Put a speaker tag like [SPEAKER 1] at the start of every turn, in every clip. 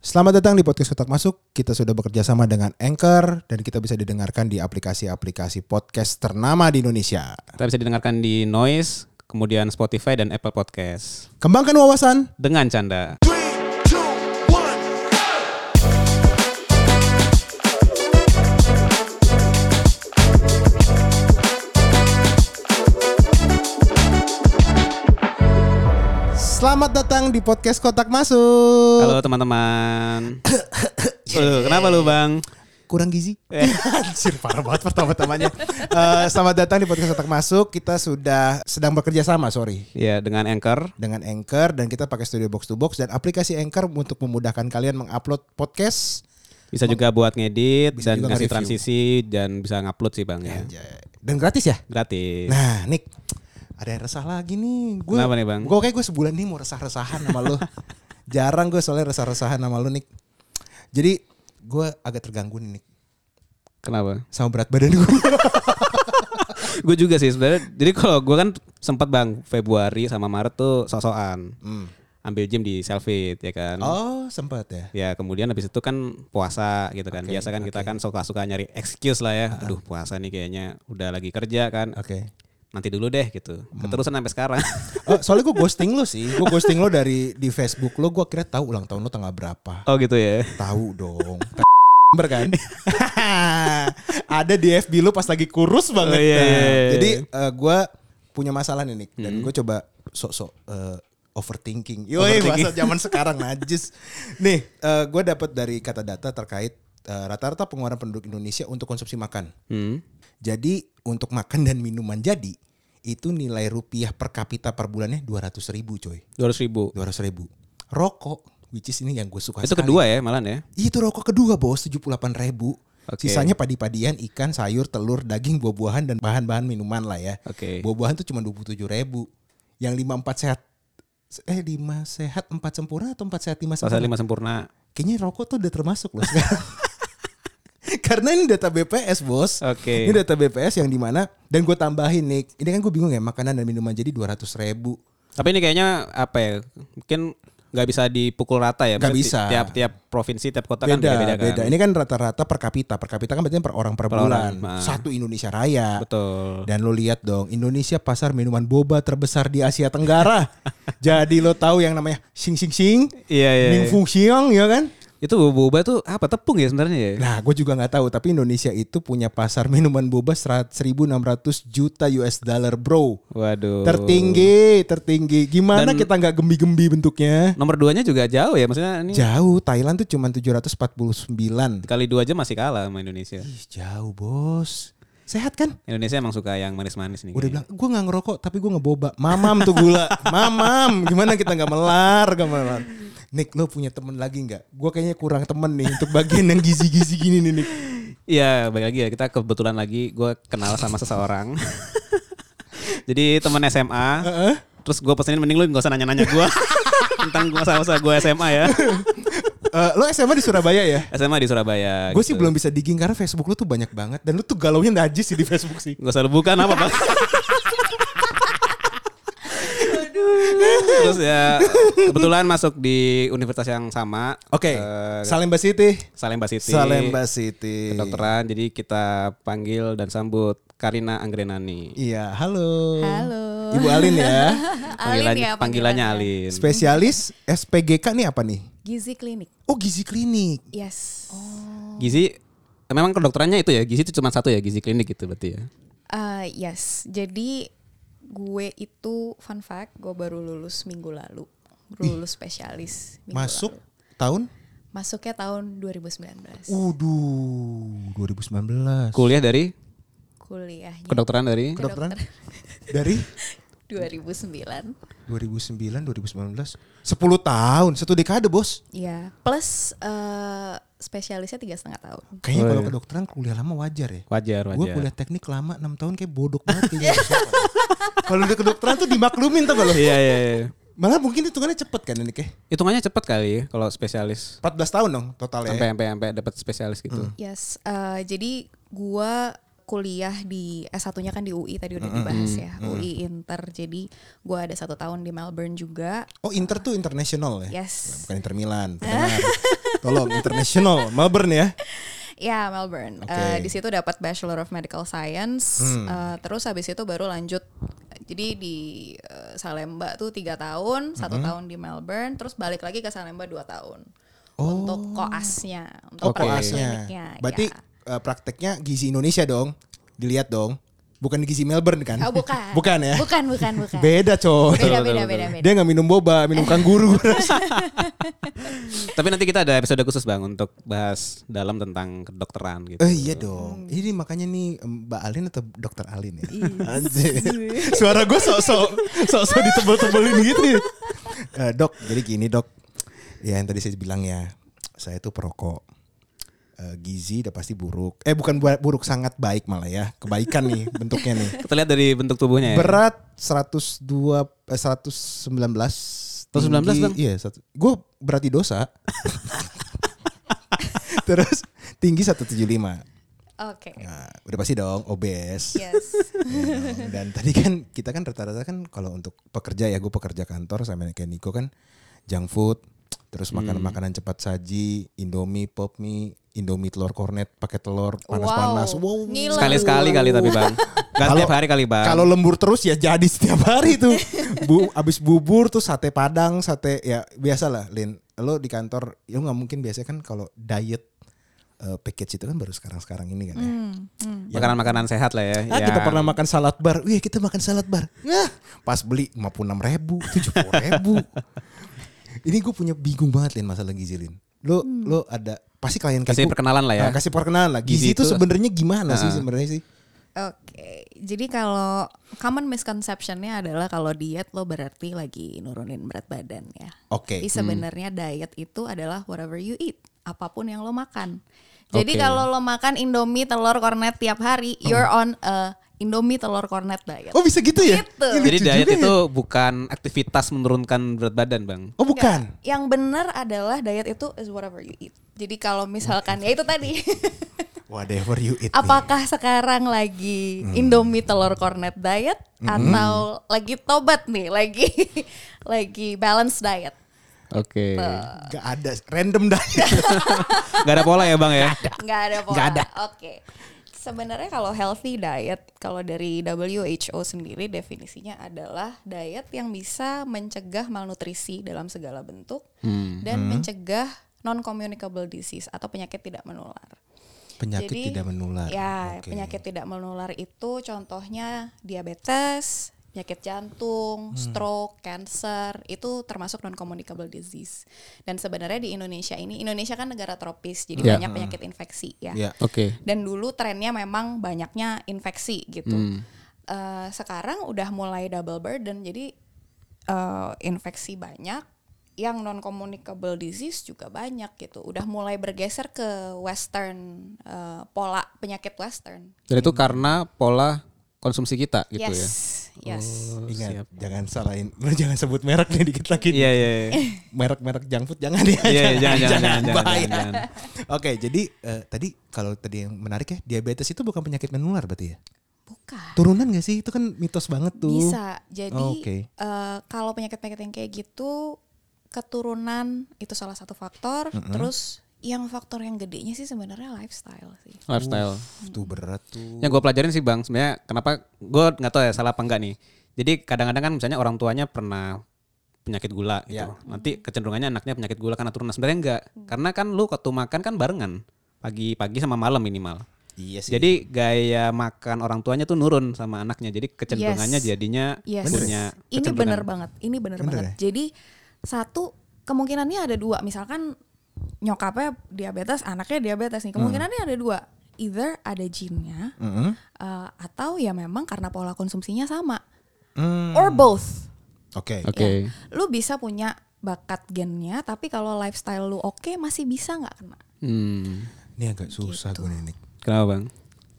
[SPEAKER 1] Selamat datang di podcast Kotak Masuk. Kita sudah bekerja sama dengan Anchor dan kita bisa didengarkan di aplikasi-aplikasi podcast ternama di Indonesia.
[SPEAKER 2] Kita bisa didengarkan di Noise, kemudian Spotify dan Apple Podcast.
[SPEAKER 1] Kembangkan wawasan.
[SPEAKER 2] Dengan canda.
[SPEAKER 1] Selamat datang di podcast Kotak Masuk.
[SPEAKER 2] Halo teman-teman. Aduh, kenapa lu bang? Eh,
[SPEAKER 1] kurang gizi. Anjir parah banget pertama-tamanya. Eh, selamat datang di podcast Kotak Masuk. Kita sudah sedang bekerja sama, sorry.
[SPEAKER 2] Ya dengan Anchor.
[SPEAKER 1] Dengan Anchor dan kita pakai Studio Box to Box dan aplikasi Anchor untuk memudahkan kalian mengupload podcast.
[SPEAKER 2] Bisa juga buat ngedit
[SPEAKER 1] Bisa
[SPEAKER 2] dan
[SPEAKER 1] juga nge-review.
[SPEAKER 2] ngasih transisi dan bisa ngupload sih bang ya.
[SPEAKER 1] Anjay. Dan gratis ya?
[SPEAKER 2] Gratis.
[SPEAKER 1] Nah, Nick, ada yang resah lagi nih. Gua,
[SPEAKER 2] Iya. Kenapa nih, Bang?
[SPEAKER 1] Gue kayak gue sebulan nih mau resah-resahan sama lu. Jarang gue soalnya resah-resahan sama lu, Nick. Jadi gue agak terganggu nih, Nick.
[SPEAKER 2] Kenapa?
[SPEAKER 1] Sama berat badan gue.
[SPEAKER 2] gue juga sih sebenarnya. Jadi kalau gue kan sempat bang Februari sama Maret tuh sosokan. Ambil gym di Selfit ya kan.
[SPEAKER 1] Hmm. Oh, sempat ya.
[SPEAKER 2] Ya kemudian habis itu kan puasa gitu kan. Biasa kan kita kan suka-suka nyari excuse lah ya. Aduh puasa nih kayaknya udah lagi kerja kan.
[SPEAKER 1] Oke. Hmm.
[SPEAKER 2] Nanti dulu deh gitu. Keterusan sampai sekarang.
[SPEAKER 1] Oh, soalnya gue ghosting lo sih. Gue ghosting lo dari di Facebook lo. Gue kira tahu ulang tahun lo tanggal berapa.
[SPEAKER 2] oh gitu ya.
[SPEAKER 1] Tahu dong. Ember kan? Ada di FB lu pas lagi kurus banget.
[SPEAKER 2] Oh, iya,
[SPEAKER 1] Nah,
[SPEAKER 2] iya, iya. Mm-hmm.
[SPEAKER 1] Jadi gue punya masalah nih Nick dan gue coba sok-sok eh, overthinking. Yoi,
[SPEAKER 2] Overthinking.
[SPEAKER 1] masa zaman sekarang najis. Nih, gue dapat dari kata data terkait eh, rata-rata pengeluaran penduduk Indonesia untuk konsumsi makan.
[SPEAKER 2] Hmm.
[SPEAKER 1] Jadi untuk makan dan minuman jadi itu nilai rupiah per kapita per bulannya 200 ribu coy.
[SPEAKER 2] 200 ribu.
[SPEAKER 1] 200 ribu. Rokok, which is ini yang gue suka
[SPEAKER 2] Itu
[SPEAKER 1] sekali.
[SPEAKER 2] kedua ya malan ya.
[SPEAKER 1] Iya, Itu rokok kedua bos 78 ribu.
[SPEAKER 2] Oke.
[SPEAKER 1] Sisanya padi-padian, ikan, sayur, telur, daging, buah-buahan dan bahan-bahan minuman lah ya.
[SPEAKER 2] Oke.
[SPEAKER 1] Buah-buahan tuh cuma 27 ribu. Yang 5 4 sehat eh 5 sehat 4 sempurna atau 4 sehat 5
[SPEAKER 2] Pasal
[SPEAKER 1] sempurna?
[SPEAKER 2] lima sempurna.
[SPEAKER 1] Kayaknya rokok tuh udah termasuk loh sekarang. Karena ini data BPS bos.
[SPEAKER 2] Oke.
[SPEAKER 1] Ini data BPS yang dimana dan gue tambahin nih. Ini kan gue bingung ya makanan dan minuman jadi 200 ribu.
[SPEAKER 2] Tapi ini kayaknya apa ya? Mungkin nggak bisa dipukul rata ya.
[SPEAKER 1] Nggak
[SPEAKER 2] Maksudnya
[SPEAKER 1] bisa.
[SPEAKER 2] ti- Tiap tiap provinsi, tiap kota kan
[SPEAKER 1] beda,
[SPEAKER 2] beda-beda kan.
[SPEAKER 1] beda. Ini kan rata-rata per kapita. Per kapita kan berarti per orang per,
[SPEAKER 2] Per
[SPEAKER 1] bulan.
[SPEAKER 2] orang, nah.
[SPEAKER 1] Satu Indonesia Raya.
[SPEAKER 2] Betul.
[SPEAKER 1] Dan lo lihat dong, Indonesia pasar minuman boba terbesar di Asia Tenggara. Jadi lo tahu yang namanya sing sing sing,
[SPEAKER 2] Iya iya.
[SPEAKER 1] ming
[SPEAKER 2] iya.
[SPEAKER 1] fung siang ya kan?
[SPEAKER 2] Itu boba tuh apa tepung ya sebenarnya ya?
[SPEAKER 1] Nah, gue juga nggak tahu. Tapi Indonesia itu punya pasar minuman boba 100 1.600 juta US dollar, bro.
[SPEAKER 2] Waduh.
[SPEAKER 1] Tertinggi, tertinggi. Gimana kita nggak gembi-gembi bentuknya?
[SPEAKER 2] Nomor duanya juga jauh ya. Maksudnya ini
[SPEAKER 1] Jauh, Thailand tuh cuma 749.
[SPEAKER 2] kali dua aja masih kalah sama Indonesia.
[SPEAKER 1] Ih, jauh, bos. Sehat kan?
[SPEAKER 2] Indonesia emang suka yang manis-manis nih.
[SPEAKER 1] Udah
[SPEAKER 2] kayaknya.
[SPEAKER 1] bilang, gue gak ngerokok tapi gue ngeboba. Mamam tuh gula. Mamam, gimana kita gak melar, gak melar. Nick, lo punya temen lagi gak? Gue kayaknya kurang temen nih untuk bagian yang gizi-gizi gini nih, Nick.
[SPEAKER 2] Iya, balik lagi ya. Kita kebetulan lagi gue kenal sama seseorang. Jadi teman SMA. Terus gue pesenin mending lu gak usah nanya-nanya gue tentang gue masa-masa gue SMA ya.
[SPEAKER 1] Eh, lo SMA di Surabaya ya?
[SPEAKER 2] SMA di Surabaya.
[SPEAKER 1] Gue
[SPEAKER 2] gitu.
[SPEAKER 1] sih belum bisa digging karena Facebook lo tuh banyak banget. Dan lo tuh galaunya najis sih di Facebook sih.
[SPEAKER 2] Gak usah lu bukan apa bang. Terus ya kebetulan masuk di universitas yang sama.
[SPEAKER 1] Oke,
[SPEAKER 2] Eh,
[SPEAKER 1] Salemba City.
[SPEAKER 2] Salemba City.
[SPEAKER 1] Salemba City.
[SPEAKER 2] Kedokteran. Jadi kita panggil dan sambut Karina Anggrenani.
[SPEAKER 1] Iya, halo.
[SPEAKER 3] Halo.
[SPEAKER 1] Ibu Alin ya.
[SPEAKER 3] Alin ya
[SPEAKER 2] Panggilannya, panggilannya
[SPEAKER 3] panggilannya.
[SPEAKER 2] Alin.
[SPEAKER 1] Spesialis SPGK nih apa nih?
[SPEAKER 3] Gizi klinik.
[SPEAKER 1] Oh, gizi klinik.
[SPEAKER 3] Yes.
[SPEAKER 2] Gizi memang kedokterannya itu ya, gizi itu cuma satu ya, gizi klinik gitu berarti ya.
[SPEAKER 3] Eh, yes. Jadi gue itu fun fact, gue baru lulus minggu lalu. Baru Lulus spesialis minggu
[SPEAKER 1] Masuk
[SPEAKER 3] lalu.
[SPEAKER 1] tahun
[SPEAKER 3] Masuknya tahun 2019.
[SPEAKER 1] Uh. Waduh, 2019.
[SPEAKER 2] Kuliah dari
[SPEAKER 3] Kuliahnya
[SPEAKER 2] kedokteran dari
[SPEAKER 1] Kedokteran dari 2009
[SPEAKER 3] 2009.
[SPEAKER 1] 2019. 10 tahun, satu dekade, Bos.
[SPEAKER 3] Ya, plus eh, spesialisnya tiga setengah tahun.
[SPEAKER 1] Kayaknya
[SPEAKER 2] Oh,
[SPEAKER 1] kalau
[SPEAKER 2] iya.
[SPEAKER 1] kedokteran kuliah lama wajar ya.
[SPEAKER 2] wajar
[SPEAKER 1] Gue
[SPEAKER 2] wajar.
[SPEAKER 1] kuliah teknik lama 6 tahun kayak bodok banget kayaknya. Kalau udah kedokteran tuh dimaklumin tuh kalau.
[SPEAKER 2] Iya iya. iya.
[SPEAKER 1] Malah mungkin hitungannya cepet kan ini kayak.
[SPEAKER 2] Hitungannya cepat kali ya, kalau spesialis
[SPEAKER 1] 14 tahun dong totalnya. ya.
[SPEAKER 2] sampai sampai sampai dapat spesialis
[SPEAKER 1] Mm.
[SPEAKER 2] gitu.
[SPEAKER 3] Yes, eh, jadi gua kuliah di S1-nya kan di UI tadi udah dibahas ya, UI Inter. Jadi gua ada satu tahun di Melbourne juga.
[SPEAKER 1] Oh, Inter tuh international ya.
[SPEAKER 3] Yes.
[SPEAKER 1] Bukan Inter Milan. pendengar. Tolong international Melbourne ya.
[SPEAKER 3] Ya Melbourne.
[SPEAKER 1] Oke.
[SPEAKER 3] Eh, di situ dapat Bachelor of Medical Science.
[SPEAKER 1] Hmm.
[SPEAKER 3] Eh, terus habis itu baru lanjut. Jadi di eh, Salemba tuh tiga tahun, satu tahun di Melbourne, terus balik lagi ke Salemba dua tahun untuk koasnya, untuk
[SPEAKER 2] Oke.
[SPEAKER 1] Koasnya.
[SPEAKER 3] praktek kliniknya,
[SPEAKER 1] Oh. Berarti
[SPEAKER 3] ya.
[SPEAKER 1] eh, prakteknya gizi Indonesia dong. Dilihat dong. Bukan gizi Melbourne kan?
[SPEAKER 3] Oh, bukan.
[SPEAKER 1] bukan ya.
[SPEAKER 3] Bukan bukan bukan.
[SPEAKER 1] Beda coy.
[SPEAKER 2] Betul,
[SPEAKER 3] Beda beda
[SPEAKER 2] betul,
[SPEAKER 3] beda
[SPEAKER 2] betul.
[SPEAKER 3] beda.
[SPEAKER 1] Dia nggak minum boba, minum kangguru.
[SPEAKER 2] Tapi nanti kita ada episode khusus bang untuk bahas dalam tentang kedokteran gitu.
[SPEAKER 1] eh iya dong. Ini makanya nih em, Mbak Alin atau Dokter Alin ya.
[SPEAKER 3] Iya.
[SPEAKER 1] Anjir. Suara gue sok-sok sok-sok ditebel-tebelin gitu. Eh, dok, jadi gini dok. Ya yang tadi saya bilang ya, saya itu perokok. Eh, gizi udah pasti buruk. Eh bukan bu- buruk, sangat baik malah ya. Kebaikan nih bentuknya nih.
[SPEAKER 2] Kita lihat dari bentuk tubuhnya ya.
[SPEAKER 1] Berat 102 eh, 119.
[SPEAKER 2] 119,
[SPEAKER 1] tinggi-
[SPEAKER 2] Bang?
[SPEAKER 1] Iya, satu. Gue berarti dosa. Terus tinggi 175.
[SPEAKER 3] Oke.
[SPEAKER 1] Nah, udah pasti dong obes.
[SPEAKER 3] Yes.
[SPEAKER 1] Ya dong. Dan tadi kan kita kan rata-rata kan kalau untuk pekerja ya gue pekerja kantor sama kayak Niko kan junk food, terus makan makanan cepat saji, Indomie, pop mie, Indomie telur kornet pakai telur panas-panas.
[SPEAKER 3] Wow.
[SPEAKER 1] Wow.
[SPEAKER 3] Gila.
[SPEAKER 2] Sekali-sekali kali tapi bang. Gak
[SPEAKER 1] Kalau-
[SPEAKER 2] setiap hari kali bang.
[SPEAKER 1] Kalau lembur terus ya jadi setiap hari tuh. Bu, abis bubur tuh sate padang, sate ya biasa lah. Lin, lo di kantor, ya nggak mungkin biasanya kan kalau diet eh, package itu kan baru sekarang-sekarang ini kan ya.
[SPEAKER 2] Makanan-makanan sehat lah ya.
[SPEAKER 1] Ah, kita
[SPEAKER 2] yang-
[SPEAKER 1] pernah makan salad bar. Wih, kita makan salad bar. Nah, pas beli 56 ribu, 70 ribu. Ini gue punya bingung banget Lin masalah gizi Lin. Lo, lo ada pasti klien kayak
[SPEAKER 2] Kasih
[SPEAKER 1] gua-
[SPEAKER 2] perkenalan lah ya.
[SPEAKER 1] Nah, kasih perkenalan lah. Gizi,
[SPEAKER 2] Gizi
[SPEAKER 1] itu
[SPEAKER 2] itu-
[SPEAKER 1] sebenarnya gimana sih
[SPEAKER 2] Ah.
[SPEAKER 1] sebenarnya sih?
[SPEAKER 3] Oke, jadi kalau common misconceptionnya adalah kalau diet lo berarti lagi nurunin berat badan ya.
[SPEAKER 1] Oke. hmm.
[SPEAKER 3] Tapi sebenarnya diet itu adalah whatever you eat, apapun yang lo makan. Jadi
[SPEAKER 2] Oke.
[SPEAKER 3] kalau lo makan Indomie telur kornet tiap hari, you're on a Indomie telur kornet diet.
[SPEAKER 1] Oh bisa gitu ya?
[SPEAKER 3] Gitu.
[SPEAKER 1] Ih,
[SPEAKER 2] Jadi
[SPEAKER 1] lucu
[SPEAKER 2] diet
[SPEAKER 1] juga
[SPEAKER 2] itu
[SPEAKER 1] ya.
[SPEAKER 2] bukan aktivitas menurunkan berat badan bang.
[SPEAKER 1] Oh bukan.
[SPEAKER 3] Yang benar adalah diet itu is whatever you eat. Jadi kalau misalkan ya itu tadi,
[SPEAKER 1] Whatever you eat. nih.
[SPEAKER 3] apakah sekarang lagi
[SPEAKER 2] Hmm.
[SPEAKER 3] Indomie telur kornet diet atau lagi tobat nih, lagi lagi balance diet?
[SPEAKER 2] Oke.
[SPEAKER 1] Gak ada random diet.
[SPEAKER 2] Gak ada pola ya bang ya.
[SPEAKER 3] Nggak ada pola.
[SPEAKER 2] Nggak ada.
[SPEAKER 3] Oke. Sebenarnya kalau healthy diet, kalau dari WHO sendiri definisinya adalah diet yang bisa mencegah malnutrisi dalam segala bentuk
[SPEAKER 2] Hmm.
[SPEAKER 3] dan mencegah non-communicable disease atau penyakit tidak menular.
[SPEAKER 1] Penyakit
[SPEAKER 3] Jadi,
[SPEAKER 1] tidak menular.
[SPEAKER 3] Ya,
[SPEAKER 1] Oke.
[SPEAKER 3] penyakit tidak menular itu contohnya diabetes, penyakit
[SPEAKER 1] Hmm.
[SPEAKER 3] jantung, stroke, cancer, itu termasuk non-communicable disease. Dan sebenarnya di Indonesia ini, Indonesia kan negara tropis, jadi
[SPEAKER 2] Ya.
[SPEAKER 3] banyak penyakit infeksi ya.
[SPEAKER 1] Hmm. Ya.
[SPEAKER 2] Oke.
[SPEAKER 3] Dan dulu trennya memang banyaknya infeksi gitu.
[SPEAKER 1] Hmm.
[SPEAKER 3] Eh, sekarang udah mulai double burden, jadi eh, infeksi banyak, yang non communicable disease juga banyak gitu. Udah mulai bergeser ke western eh, pola penyakit western.
[SPEAKER 2] Dan itu karena pola konsumsi kita gitu
[SPEAKER 3] yes,
[SPEAKER 2] ya.
[SPEAKER 3] yes.
[SPEAKER 1] Ingat,
[SPEAKER 2] Oh, Siap.
[SPEAKER 1] jangan salahin. Lu jangan sebut merek nih dikit lagi.
[SPEAKER 2] Iya iya. iya.
[SPEAKER 1] merek-merek junk food jangan ya.
[SPEAKER 2] Iya, iya, jangan, jangan, jangan,
[SPEAKER 1] bahaya.
[SPEAKER 2] jangan, jangan.
[SPEAKER 1] Oke, jadi eh, tadi kalau tadi yang menarik ya, diabetes itu bukan penyakit menular berarti ya?
[SPEAKER 3] Bukan.
[SPEAKER 1] Turunan gak sih? Itu kan mitos banget tuh.
[SPEAKER 3] Bisa. Jadi
[SPEAKER 1] Oh, oke.
[SPEAKER 3] eh, kalau penyakit-penyakit yang kayak gitu keturunan itu salah satu faktor. Terus yang faktor yang gedenya sih sebenarnya lifestyle sih.
[SPEAKER 2] Lifestyle. Ya,
[SPEAKER 1] Tuh berat tuh.
[SPEAKER 2] Yang gue pelajarin sih bang, sebenarnya kenapa gue nggak tahu ya salah apa enggak nih. Jadi kadang-kadang kan misalnya orang tuanya pernah penyakit gula gitu.
[SPEAKER 1] Iya.
[SPEAKER 2] Nanti kecenderungannya anaknya penyakit gula karena turunan. Sebenarnya enggak. Karena kan lu waktu makan kan barengan. Pagi-pagi sama malam minimal.
[SPEAKER 1] Iya sih.
[SPEAKER 2] Jadi gaya makan orang tuanya tuh nurun sama anaknya. Jadi kecenderungannya
[SPEAKER 3] Yes.
[SPEAKER 2] jadinya
[SPEAKER 3] Yes.
[SPEAKER 2] punya
[SPEAKER 3] Ini
[SPEAKER 2] kecenderungan.
[SPEAKER 3] bener banget. Ini bener,
[SPEAKER 1] ya? Bener ya?
[SPEAKER 3] banget. Jadi satu kemungkinannya ada dua. Misalkan nyokapnya diabetes, anaknya diabetes
[SPEAKER 1] Hmm.
[SPEAKER 3] nih. Kemungkinannya ada dua. Either ada jinnya
[SPEAKER 1] Mm-mm.
[SPEAKER 3] eh, atau ya memang karena pola konsumsinya sama.
[SPEAKER 1] Hmm,
[SPEAKER 3] Or both.
[SPEAKER 1] Oke.
[SPEAKER 2] Oke.
[SPEAKER 3] Ya. Lu bisa punya bakat gennya, tapi kalau lifestyle lu oke masih bisa nggak kena.
[SPEAKER 2] Hmm.
[SPEAKER 1] Ini agak susah
[SPEAKER 3] Gitu.
[SPEAKER 1] gue nih. Nick.
[SPEAKER 2] Kenapa bang?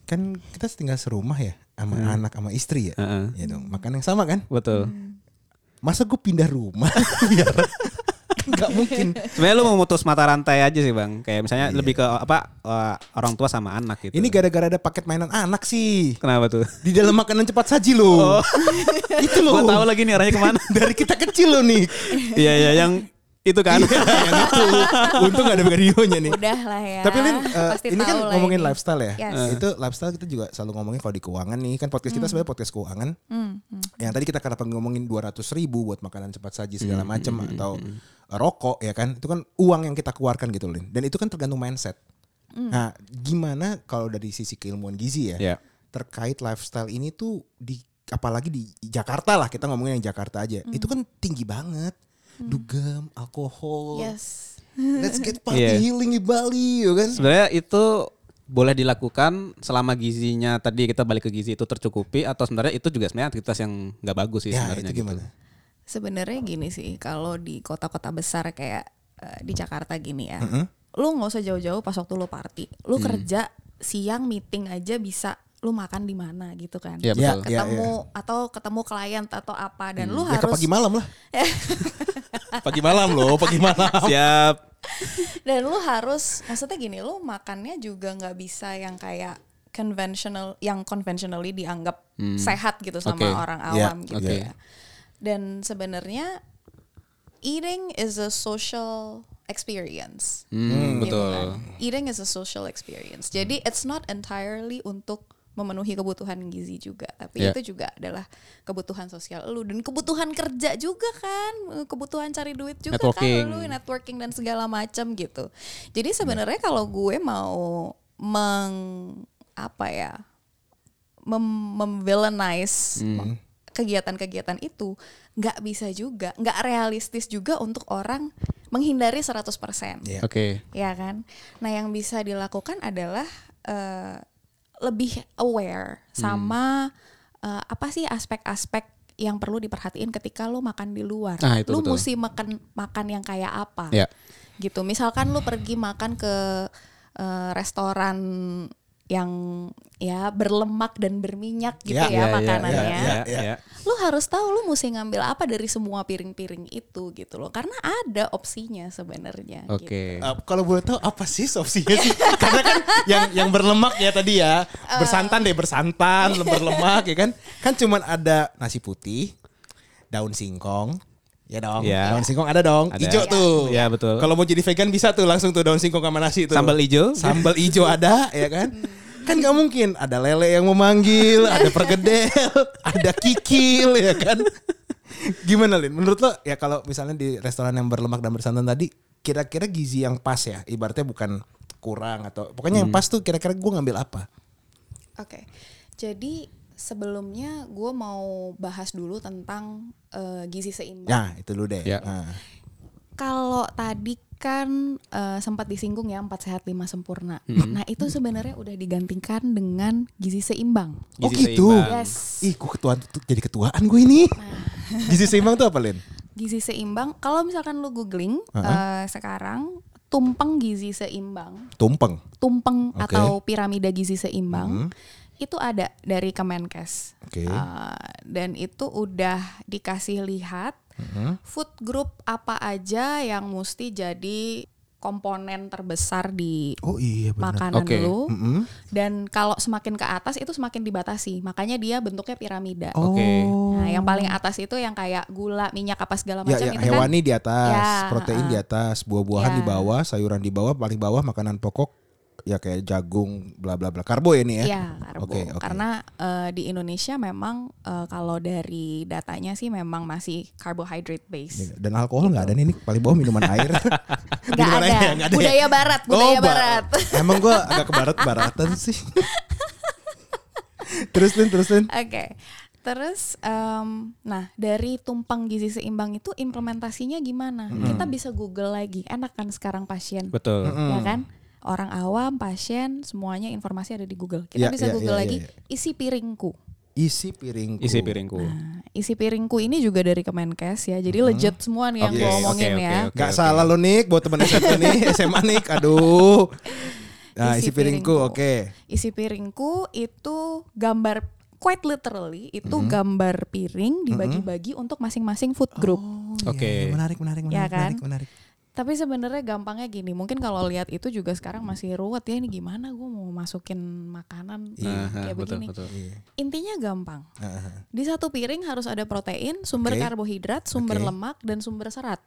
[SPEAKER 1] Kan kita tinggal serumah ya sama anak sama istri ya.
[SPEAKER 2] Heeh.
[SPEAKER 1] Ya dong, makan yang sama kan?
[SPEAKER 2] Betul.
[SPEAKER 3] Hmm.
[SPEAKER 1] Masa gue pindah rumah biar nggak mungkin.
[SPEAKER 2] Sebenarnya lu mau mutus mata rantai aja sih bang. Kayak misalnya lebih ke apa eh, orang tua sama anak gitu.
[SPEAKER 1] Ini gara-gara ada paket mainan anak sih.
[SPEAKER 2] kenapa tuh?
[SPEAKER 1] Di dalam makanan cepat saji loh. Itu loh.
[SPEAKER 2] Gue tahu lagi nih arahnya kemana.
[SPEAKER 1] Dari kita kecil loh nih.
[SPEAKER 2] Iya iya yang Itu kan.
[SPEAKER 1] yang itu untung gak ada videonya nih
[SPEAKER 3] Udah lah ya.
[SPEAKER 1] Tapi Lin, eh,
[SPEAKER 3] Pasti
[SPEAKER 1] ini kan
[SPEAKER 3] tahu lah
[SPEAKER 1] ngomongin
[SPEAKER 3] ini.
[SPEAKER 1] lifestyle ya.
[SPEAKER 3] Yes. Hmm.
[SPEAKER 1] Eh, Itu lifestyle kita juga selalu ngomongin kalau di keuangan nih. Kan podcast kita sebenarnya podcast keuangan. Yang tadi kita kenapa ngomongin 200 ribu buat makanan cepat
[SPEAKER 2] Hmm,
[SPEAKER 1] saji segala macam atau eh, rokok ya kan. Itu kan uang yang kita keluarkan gitu Lin. Dan itu kan tergantung mindset.
[SPEAKER 3] Hmm.
[SPEAKER 1] Nah gimana kalau dari sisi keilmuan gizi ya.
[SPEAKER 2] Iya.
[SPEAKER 1] Terkait lifestyle ini tuh di apalagi di Jakarta lah kita ngomongin yang Jakarta aja.
[SPEAKER 3] Hmm.
[SPEAKER 1] Itu kan tinggi banget. Dugem, alkohol,
[SPEAKER 3] Yes.
[SPEAKER 1] let's get party
[SPEAKER 2] Iya.
[SPEAKER 1] healing di Bali, ya kan?
[SPEAKER 2] Sebenarnya itu boleh dilakukan selama gizinya tadi kita balik ke gizi itu tercukupi atau sebenarnya itu juga sebenarnya aktivitas yang nggak bagus sih
[SPEAKER 1] Ya
[SPEAKER 2] sebenarnya
[SPEAKER 1] itu
[SPEAKER 2] gitu.
[SPEAKER 1] gimana?
[SPEAKER 3] Sebenarnya gini sih, kalau di kota-kota besar kayak eh, di Jakarta gini ya, lu nggak usah jauh-jauh pas waktu lu party, lu kerja siang meeting aja bisa lu makan di mana gitu kan,
[SPEAKER 2] Iya, betul.
[SPEAKER 1] Iya,
[SPEAKER 3] ketemu atau ketemu klien atau apa dan lu
[SPEAKER 1] Ya ke
[SPEAKER 3] harus
[SPEAKER 1] pagi malam lah.
[SPEAKER 2] Pagi malam loh, pagi malam. Siap.
[SPEAKER 3] dan lu harus maksudnya gini, lu makannya juga nggak bisa yang kayak conventional yang conventionally dianggap sehat gitu sama
[SPEAKER 2] Hmm. Oke.
[SPEAKER 3] orang
[SPEAKER 1] Iya,
[SPEAKER 3] awam gitu
[SPEAKER 2] oke.
[SPEAKER 3] ya. Dan sebenarnya eating is a social experience.
[SPEAKER 2] Hmm,
[SPEAKER 3] gitu
[SPEAKER 2] betul. Hmm.
[SPEAKER 3] kan. Eating is a social experience. Jadi it's not entirely untuk memenuhi kebutuhan gizi juga, tapi
[SPEAKER 2] Yeah.
[SPEAKER 3] itu juga adalah kebutuhan sosial lu dan kebutuhan kerja juga kan, kebutuhan cari duit juga
[SPEAKER 2] Networking.
[SPEAKER 3] kan lu networking dan segala macam gitu. Jadi sebenarnya kalau gue mau meng apa ya? mem- memvillainize
[SPEAKER 2] Hmm.
[SPEAKER 3] kegiatan-kegiatan itu nggak bisa juga, nggak realistis juga untuk orang menghindari 100%.
[SPEAKER 1] Iya.
[SPEAKER 2] Oke.
[SPEAKER 3] Ya kan? Nah, yang bisa dilakukan adalah eh, lebih aware
[SPEAKER 2] Hmm.
[SPEAKER 3] sama eh, apa sih aspek-aspek yang perlu diperhatiin ketika lu makan di luar.
[SPEAKER 2] Ah, itu
[SPEAKER 3] lu
[SPEAKER 2] betul.
[SPEAKER 3] mesti makan makan yang kayak apa?
[SPEAKER 2] Ya.
[SPEAKER 3] Gitu. Misalkan lu pergi makan ke eh, restoran yang ya berlemak dan berminyak gitu
[SPEAKER 1] Ya,
[SPEAKER 2] Ya,
[SPEAKER 3] ya,
[SPEAKER 2] ya,
[SPEAKER 3] makanannya
[SPEAKER 2] ya, ya,
[SPEAKER 1] ya.
[SPEAKER 2] ya.
[SPEAKER 3] lu harus tahu lu mesti ngambil apa dari semua piring-piring itu gitu loh karena ada opsinya sebenarnya
[SPEAKER 2] Oke.
[SPEAKER 3] gitu.
[SPEAKER 1] Eh, kalau boleh tahu apa sih opsinya sih? Karena kan yang yang berlemak ya tadi ya, bersantan deh bersantan, berlemak ya kan? Kan cuman ada nasi putih, daun singkong, ya dong.
[SPEAKER 2] Iya.
[SPEAKER 1] Daun singkong ada dong,
[SPEAKER 2] Ada.
[SPEAKER 1] hijau
[SPEAKER 2] Iya.
[SPEAKER 1] tuh.
[SPEAKER 2] Iya, betul.
[SPEAKER 1] Kalau mau jadi vegan bisa tuh langsung tuh daun singkong sama nasi tuh.
[SPEAKER 2] Sambal hijau.
[SPEAKER 1] Sambal hijau ada ya kan? Kan nggak mungkin ada lele yang memanggil, ada pergedel, ada kikil ya kan? Gimana Lin? Menurut lo ya kalau misalnya di restoran yang berlemak dan bersantan tadi kira-kira gizi yang pas ya? Ibaratnya bukan kurang atau pokoknya
[SPEAKER 2] Hmm.
[SPEAKER 1] yang pas tuh kira-kira gue ngambil apa?
[SPEAKER 3] Oke, jadi sebelumnya gue mau bahas dulu tentang eh, gizi seimbang.
[SPEAKER 1] Nah itu dulu deh.
[SPEAKER 2] Ya.
[SPEAKER 1] Nah.
[SPEAKER 3] Kalau tadi kan eh, sempat disinggung ya empat sehat lima sempurna. Nah itu sebenarnya udah digantikan dengan gizi seimbang.
[SPEAKER 1] Oh
[SPEAKER 2] Gizi
[SPEAKER 1] gitu.
[SPEAKER 2] seimbang.
[SPEAKER 3] Yes.
[SPEAKER 1] Ih gue ketuaan jadi ketuaan gue ini. Gizi seimbang tuh apa Lin?
[SPEAKER 3] Gizi seimbang. Kalau misalkan lu googling eh, sekarang tumpeng gizi seimbang,
[SPEAKER 1] Tumpeng.
[SPEAKER 3] tumpeng
[SPEAKER 1] Oke. Mm-hmm.
[SPEAKER 3] atau piramida gizi seimbang itu ada dari Kemenkes.
[SPEAKER 1] Oke.
[SPEAKER 3] Uh, dan itu udah dikasih lihat
[SPEAKER 1] Mm-hmm.
[SPEAKER 3] food group apa aja yang mesti jadi komponen terbesar di
[SPEAKER 1] Oh iya benar. Mm-hmm.
[SPEAKER 3] makanan
[SPEAKER 2] Oke.
[SPEAKER 3] lu.
[SPEAKER 1] Mm-mm.
[SPEAKER 3] Dan kalau semakin ke atas itu semakin dibatasi. Makanya dia bentuknya piramida.
[SPEAKER 1] Oh.
[SPEAKER 2] Oke.
[SPEAKER 3] Nah, yang paling atas itu yang kayak gula, minyak apa segala
[SPEAKER 1] Ya,
[SPEAKER 3] macam
[SPEAKER 1] ya,
[SPEAKER 3] itu kan.
[SPEAKER 1] hewani di atas,
[SPEAKER 3] Ya,
[SPEAKER 1] protein di atas, buah-buahan
[SPEAKER 3] Ya.
[SPEAKER 1] di bawah, sayuran di bawah, paling bawah makanan pokok ya kayak jagung, bla bla bla, karbo ya ini ya.
[SPEAKER 3] Iya, karbo.
[SPEAKER 1] Oke, oke.
[SPEAKER 3] Karena eh, di Indonesia memang eh, kalau dari datanya sih memang masih carbohydrate based.
[SPEAKER 1] Dan alkohol nggak ada nih, ini paling bawah minuman air.
[SPEAKER 3] Gak ada.
[SPEAKER 1] ya, nggak ya?
[SPEAKER 3] Budaya barat, budaya
[SPEAKER 1] Oh, ba-
[SPEAKER 3] barat.
[SPEAKER 1] Emang gua agak ke barat baratan sih. terus Lin, terus Lin.
[SPEAKER 3] Oke. Terus, em, nah dari tumpang gizi seimbang itu implementasinya gimana? Kita bisa Google lagi. Enak kan sekarang pasien,
[SPEAKER 2] Betul.
[SPEAKER 3] ya kan? Orang awam, pasien, semuanya informasi ada di Google.
[SPEAKER 1] Iya,
[SPEAKER 3] Kita bisa
[SPEAKER 1] iya,
[SPEAKER 3] Google
[SPEAKER 1] iya,
[SPEAKER 3] lagi.
[SPEAKER 1] iya,
[SPEAKER 3] Isi piringku.
[SPEAKER 1] Isi piringku.
[SPEAKER 2] Isi piringku.
[SPEAKER 3] Nah, isi piringku ini juga dari Kemenkes ya. Jadi legit semua nih yang
[SPEAKER 2] Oke,
[SPEAKER 3] gue
[SPEAKER 2] oke,
[SPEAKER 3] omongin
[SPEAKER 2] oke,
[SPEAKER 3] ya.
[SPEAKER 2] oke.
[SPEAKER 1] Gak salah lo Nick, buat temen SMA nih, SMA Nick, aduh. Nah, isi,
[SPEAKER 3] Isi
[SPEAKER 1] piringku,
[SPEAKER 3] piringku.
[SPEAKER 1] oke.
[SPEAKER 3] Isi piringku itu gambar quite literally itu
[SPEAKER 2] Mm-hmm.
[SPEAKER 3] gambar piring dibagi-bagi untuk masing-masing food
[SPEAKER 2] Oh.
[SPEAKER 3] group.
[SPEAKER 2] Oke.
[SPEAKER 1] Iya, Menarik, menarik, menarik,
[SPEAKER 3] Ya kan?
[SPEAKER 1] menarik, menarik.
[SPEAKER 3] Tapi sebenarnya gampangnya gini, mungkin kalau lihat itu juga sekarang masih ruwet ya ini gimana gue mau masukin makanan
[SPEAKER 1] Iya.
[SPEAKER 2] Aha,
[SPEAKER 3] kayak
[SPEAKER 2] Iya, betul,
[SPEAKER 3] begini.
[SPEAKER 2] betul.
[SPEAKER 3] Intinya gampang.
[SPEAKER 1] Aha.
[SPEAKER 3] Di satu piring harus ada protein, sumber
[SPEAKER 1] Oke.
[SPEAKER 3] karbohidrat, sumber
[SPEAKER 1] Oke.
[SPEAKER 3] lemak dan sumber serat.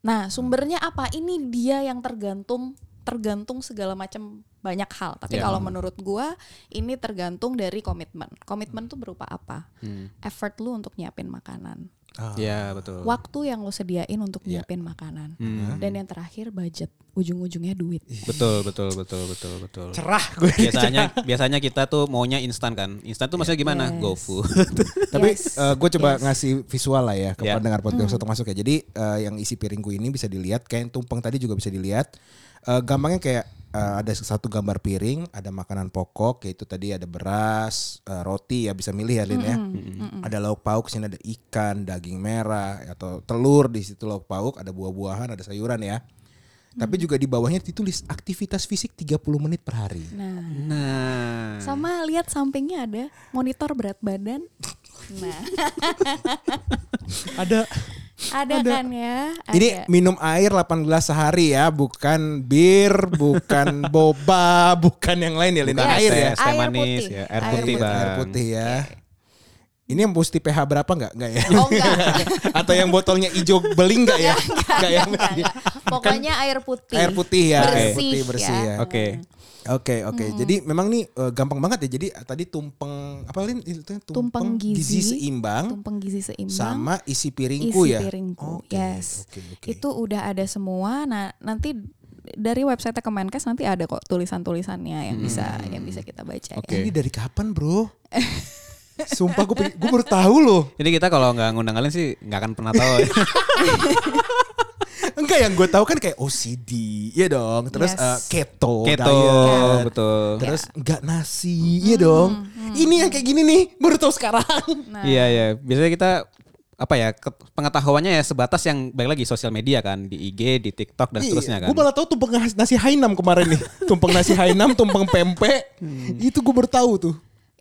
[SPEAKER 3] Nah, sumbernya apa? Ini dia yang tergantung tergantung segala macam banyak hal. Tapi
[SPEAKER 2] Ya.
[SPEAKER 3] kalau menurut gua ini tergantung dari komitmen. Komitmen tuh berupa apa? Effort lu untuk nyiapin makanan.
[SPEAKER 1] Ah.
[SPEAKER 2] Iya Hmm. betul.
[SPEAKER 3] Waktu yang lu sediain untuk
[SPEAKER 2] Iya.
[SPEAKER 3] nyiapin makanan.
[SPEAKER 2] Hmm.
[SPEAKER 3] Dan yang terakhir budget. Ujung-ujungnya duit.
[SPEAKER 2] Betul betul betul betul betul.
[SPEAKER 1] Cerah
[SPEAKER 2] Iya
[SPEAKER 1] gue.
[SPEAKER 2] Biasanya biasanya kita tuh maunya instan kan. Instan tuh maksudnya gimana?
[SPEAKER 3] Yes.
[SPEAKER 2] GoFood.
[SPEAKER 1] Tapi
[SPEAKER 3] Yes.
[SPEAKER 1] gue coba
[SPEAKER 3] Yes. Hmm.
[SPEAKER 1] ngasih visual lah ya ke
[SPEAKER 2] Ya.
[SPEAKER 1] pendengar podcast untuk masuk ya. Jadi eh, yang isi piringku ini bisa dilihat, kayak yang tumpeng tadi juga bisa dilihat. Eh, gampangnya kayak eh, ada satu gambar piring, ada makanan pokok yaitu tadi ada beras, eh, roti ya bisa milih ya Lin ya.
[SPEAKER 3] Hmm,
[SPEAKER 1] Ada lauk pauk, sini ada ikan, daging merah atau telur di situ lauk pauk, ada buah-buahan, ada sayuran ya. Tapi
[SPEAKER 3] Hmm.
[SPEAKER 1] juga di bawahnya ditulis aktivitas fisik 30 menit per hari.
[SPEAKER 3] Nah,
[SPEAKER 2] Nah.
[SPEAKER 3] sama lihat sampingnya ada monitor berat badan. Nah,
[SPEAKER 1] Ada
[SPEAKER 3] ada, kan ya? Ada.
[SPEAKER 1] Jadi minum air 8 gelas sehari ya, bukan bir, bukan boba, bukan yang lain ya, Lin.
[SPEAKER 2] Bukan
[SPEAKER 1] air ya.
[SPEAKER 2] es teh
[SPEAKER 3] Air
[SPEAKER 2] manis
[SPEAKER 3] putih.
[SPEAKER 2] ya, air
[SPEAKER 3] Air
[SPEAKER 2] putih,
[SPEAKER 3] putih.
[SPEAKER 2] Bang.
[SPEAKER 1] Air putih ya. Ini yang mesti pH berapa enggak? Enggak ya?
[SPEAKER 3] Oh enggak.
[SPEAKER 1] Atau yang botolnya hijau beling enggak ya? Enggak ya.
[SPEAKER 3] Enggak, enggak. Pokoknya air putih.
[SPEAKER 1] Air putih ya,
[SPEAKER 3] Bersih,
[SPEAKER 1] air putih bersih ya.
[SPEAKER 2] Oke.
[SPEAKER 1] Oke, oke. Jadi memang nih eh, gampang banget ya. Jadi eh, tadi tumpeng apa Lin? Itu tumpeng,
[SPEAKER 3] Tumpeng gizi,
[SPEAKER 1] seimbang
[SPEAKER 3] Tumpeng gizi seimbang.
[SPEAKER 1] sama isi piringku
[SPEAKER 3] isi
[SPEAKER 1] ya.
[SPEAKER 3] piringku.
[SPEAKER 1] Oke,
[SPEAKER 3] yes.
[SPEAKER 1] oke, oke.
[SPEAKER 3] Itu udah ada semua. Nah, nanti dari website Kemenkes nanti ada kok tulisan-tulisannya yang
[SPEAKER 1] Hmm.
[SPEAKER 3] bisa yang bisa kita baca ya.
[SPEAKER 1] "Eh,
[SPEAKER 2] Oke.
[SPEAKER 1] Ini dari kapan, Bro? Sumpah gue gue baru tahu loh.
[SPEAKER 2] Jadi kita kalau nggak ngundang kalian sih nggak akan pernah tahu. ya.
[SPEAKER 1] Enggak yang gue tahu kan kayak OCD, ya dong. Terus
[SPEAKER 3] Yes.
[SPEAKER 1] eh, keto,
[SPEAKER 2] Keto,
[SPEAKER 1] diet.
[SPEAKER 2] betul.
[SPEAKER 1] Terus enggak nasi, ya dong. Ini yang kayak gini nih, baru tahu sekarang.
[SPEAKER 3] Nah,
[SPEAKER 2] Iya iya. Biasanya kita apa ya ke- pengetahuannya ya sebatas yang balik lagi sosial media kan di IG, di TikTok dan seterusnya
[SPEAKER 1] Gue
[SPEAKER 2] kan.
[SPEAKER 1] Iya, malah tahu tumpeng nas- nasi Hainam kemarin nih. tumpeng nasi Hainam, tumpeng pempek. Itu gue baru tahu tuh.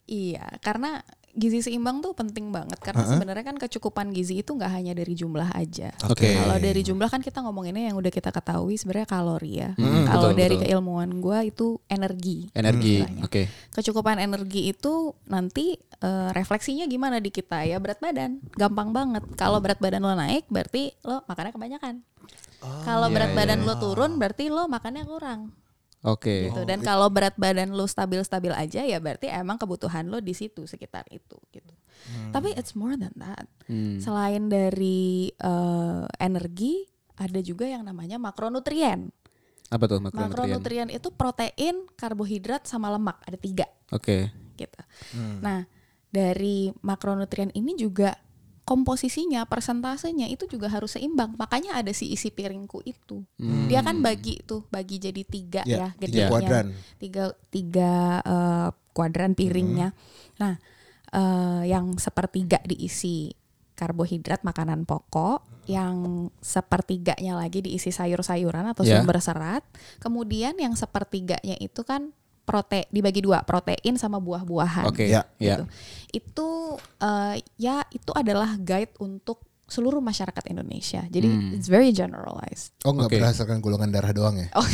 [SPEAKER 3] Iya, karena gizi seimbang tuh penting banget karena sebenarnya kan kecukupan gizi itu nggak hanya dari jumlah aja.
[SPEAKER 1] Oke.
[SPEAKER 3] Kalau dari jumlah kan kita ngomonginnya yang udah kita ketahui sebenarnya kalori ya.
[SPEAKER 2] Hmm,
[SPEAKER 3] Kalau
[SPEAKER 2] betul,
[SPEAKER 3] dari
[SPEAKER 2] betul. Eh.
[SPEAKER 3] keilmuan gua itu energi.
[SPEAKER 2] Energi.
[SPEAKER 1] Hmm.
[SPEAKER 3] istilahnya.
[SPEAKER 2] Oke.
[SPEAKER 3] Kecukupan energi itu nanti eh, refleksinya gimana di kita ya berat badan. Gampang banget. Kalau berat badan lo naik berarti lo makannya kebanyakan. Kalau
[SPEAKER 2] Iya,
[SPEAKER 3] berat
[SPEAKER 2] iya,
[SPEAKER 3] badan lo turun berarti lo makannya kurang
[SPEAKER 2] Oke.
[SPEAKER 1] Oh,
[SPEAKER 3] gitu. Dan kalau berat badan lu stabil-stabil aja ya berarti emang kebutuhan lu di situ sekitar itu gitu.
[SPEAKER 1] Hmm.
[SPEAKER 3] Tapi it's more than that. Selain dari eh, energi, ada juga yang namanya makronutrien.
[SPEAKER 2] Apa tuh makronutrien? Oke.
[SPEAKER 3] Makronutrien itu protein, karbohidrat sama lemak, ada tiga gitu.
[SPEAKER 1] Hmm.
[SPEAKER 3] Nah, dari makronutrien ini juga komposisinya, persentasenya itu juga harus seimbang. Makanya ada si isi piringku itu. Dia kan bagi tuh, bagi jadi tiga
[SPEAKER 1] Hmm. Ya,
[SPEAKER 2] Iya,
[SPEAKER 3] ya,
[SPEAKER 1] tiga
[SPEAKER 3] gedenya.
[SPEAKER 1] kuadran.
[SPEAKER 3] Tiga tiga, eh, kuadran piringnya.
[SPEAKER 2] Hmm.
[SPEAKER 3] Nah, eh, yang sepertiga diisi karbohidrat makanan pokok, yang sepertiganya lagi diisi sayur-sayuran atau
[SPEAKER 2] Ya.
[SPEAKER 3] sumber serat. Kemudian yang sepertiganya itu kan protein dibagi dua, protein sama buah-buahan.
[SPEAKER 2] Oke.
[SPEAKER 1] Ya,
[SPEAKER 2] Ya.
[SPEAKER 3] Gitu. Itu eh, ya itu adalah guide untuk seluruh masyarakat Indonesia. Jadi
[SPEAKER 2] Hmm.
[SPEAKER 3] it's very generalized.
[SPEAKER 1] Oh enggak
[SPEAKER 2] Oke.
[SPEAKER 1] berdasarkan golongan darah doang ya?
[SPEAKER 3] Oh,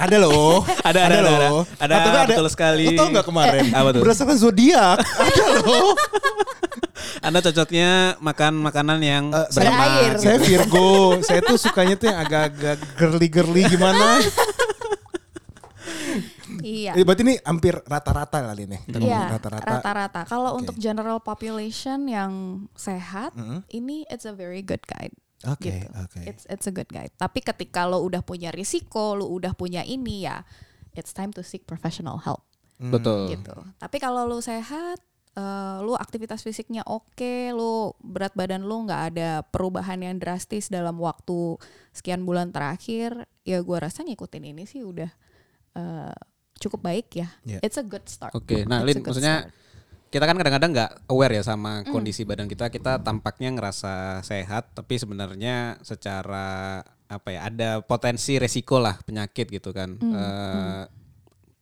[SPEAKER 1] Ada loh.
[SPEAKER 2] Ada, ada, ada, ada. Ada,
[SPEAKER 1] Atau enggak
[SPEAKER 2] betul sekali. Eh,
[SPEAKER 1] Lo tau gak kemarin?
[SPEAKER 2] Apa tuh?
[SPEAKER 1] Berdasarkan zodiak. ada loh.
[SPEAKER 2] Anda cocoknya makan makanan yang
[SPEAKER 1] Eh, saya-
[SPEAKER 2] berlemak.
[SPEAKER 3] Berair.
[SPEAKER 1] Saya Virgo. saya tuh sukanya tuh yang agak-agak girly-girly gimana.
[SPEAKER 3] iya.
[SPEAKER 1] Eh, berarti ini hampir rata-rata kali nih. Kita ngomongin
[SPEAKER 3] Iya,
[SPEAKER 1] rata-rata.
[SPEAKER 3] rata-rata. Kalau
[SPEAKER 1] Oke.
[SPEAKER 3] untuk general population yang sehat, ini it's a very good guide.
[SPEAKER 1] Oke,
[SPEAKER 3] gitu.
[SPEAKER 1] oke.
[SPEAKER 3] It's it's a good guide. Tapi ketika lo udah punya risiko, lo udah punya ini ya, it's time to seek professional help.
[SPEAKER 2] Betul.
[SPEAKER 3] gitu. Tapi kalau lu sehat, eh, lu aktivitas fisiknya oke, lu berat badan lu nggak ada perubahan yang drastis dalam waktu sekian bulan terakhir, ya gua rasa ngikutin ini sih udah eh, cukup baik ya.
[SPEAKER 1] Iya.
[SPEAKER 3] It's a good start.
[SPEAKER 2] Oke, nah Lin,
[SPEAKER 3] It's a good
[SPEAKER 2] maksudnya
[SPEAKER 3] start.
[SPEAKER 2] kita kan kadang-kadang nggak aware ya sama
[SPEAKER 3] Hmm.
[SPEAKER 2] kondisi badan kita. Kita tampaknya ngerasa sehat, tapi sebenarnya secara apa ya ada potensi resiko lah penyakit gitu kan.
[SPEAKER 3] Hmm.
[SPEAKER 2] Eh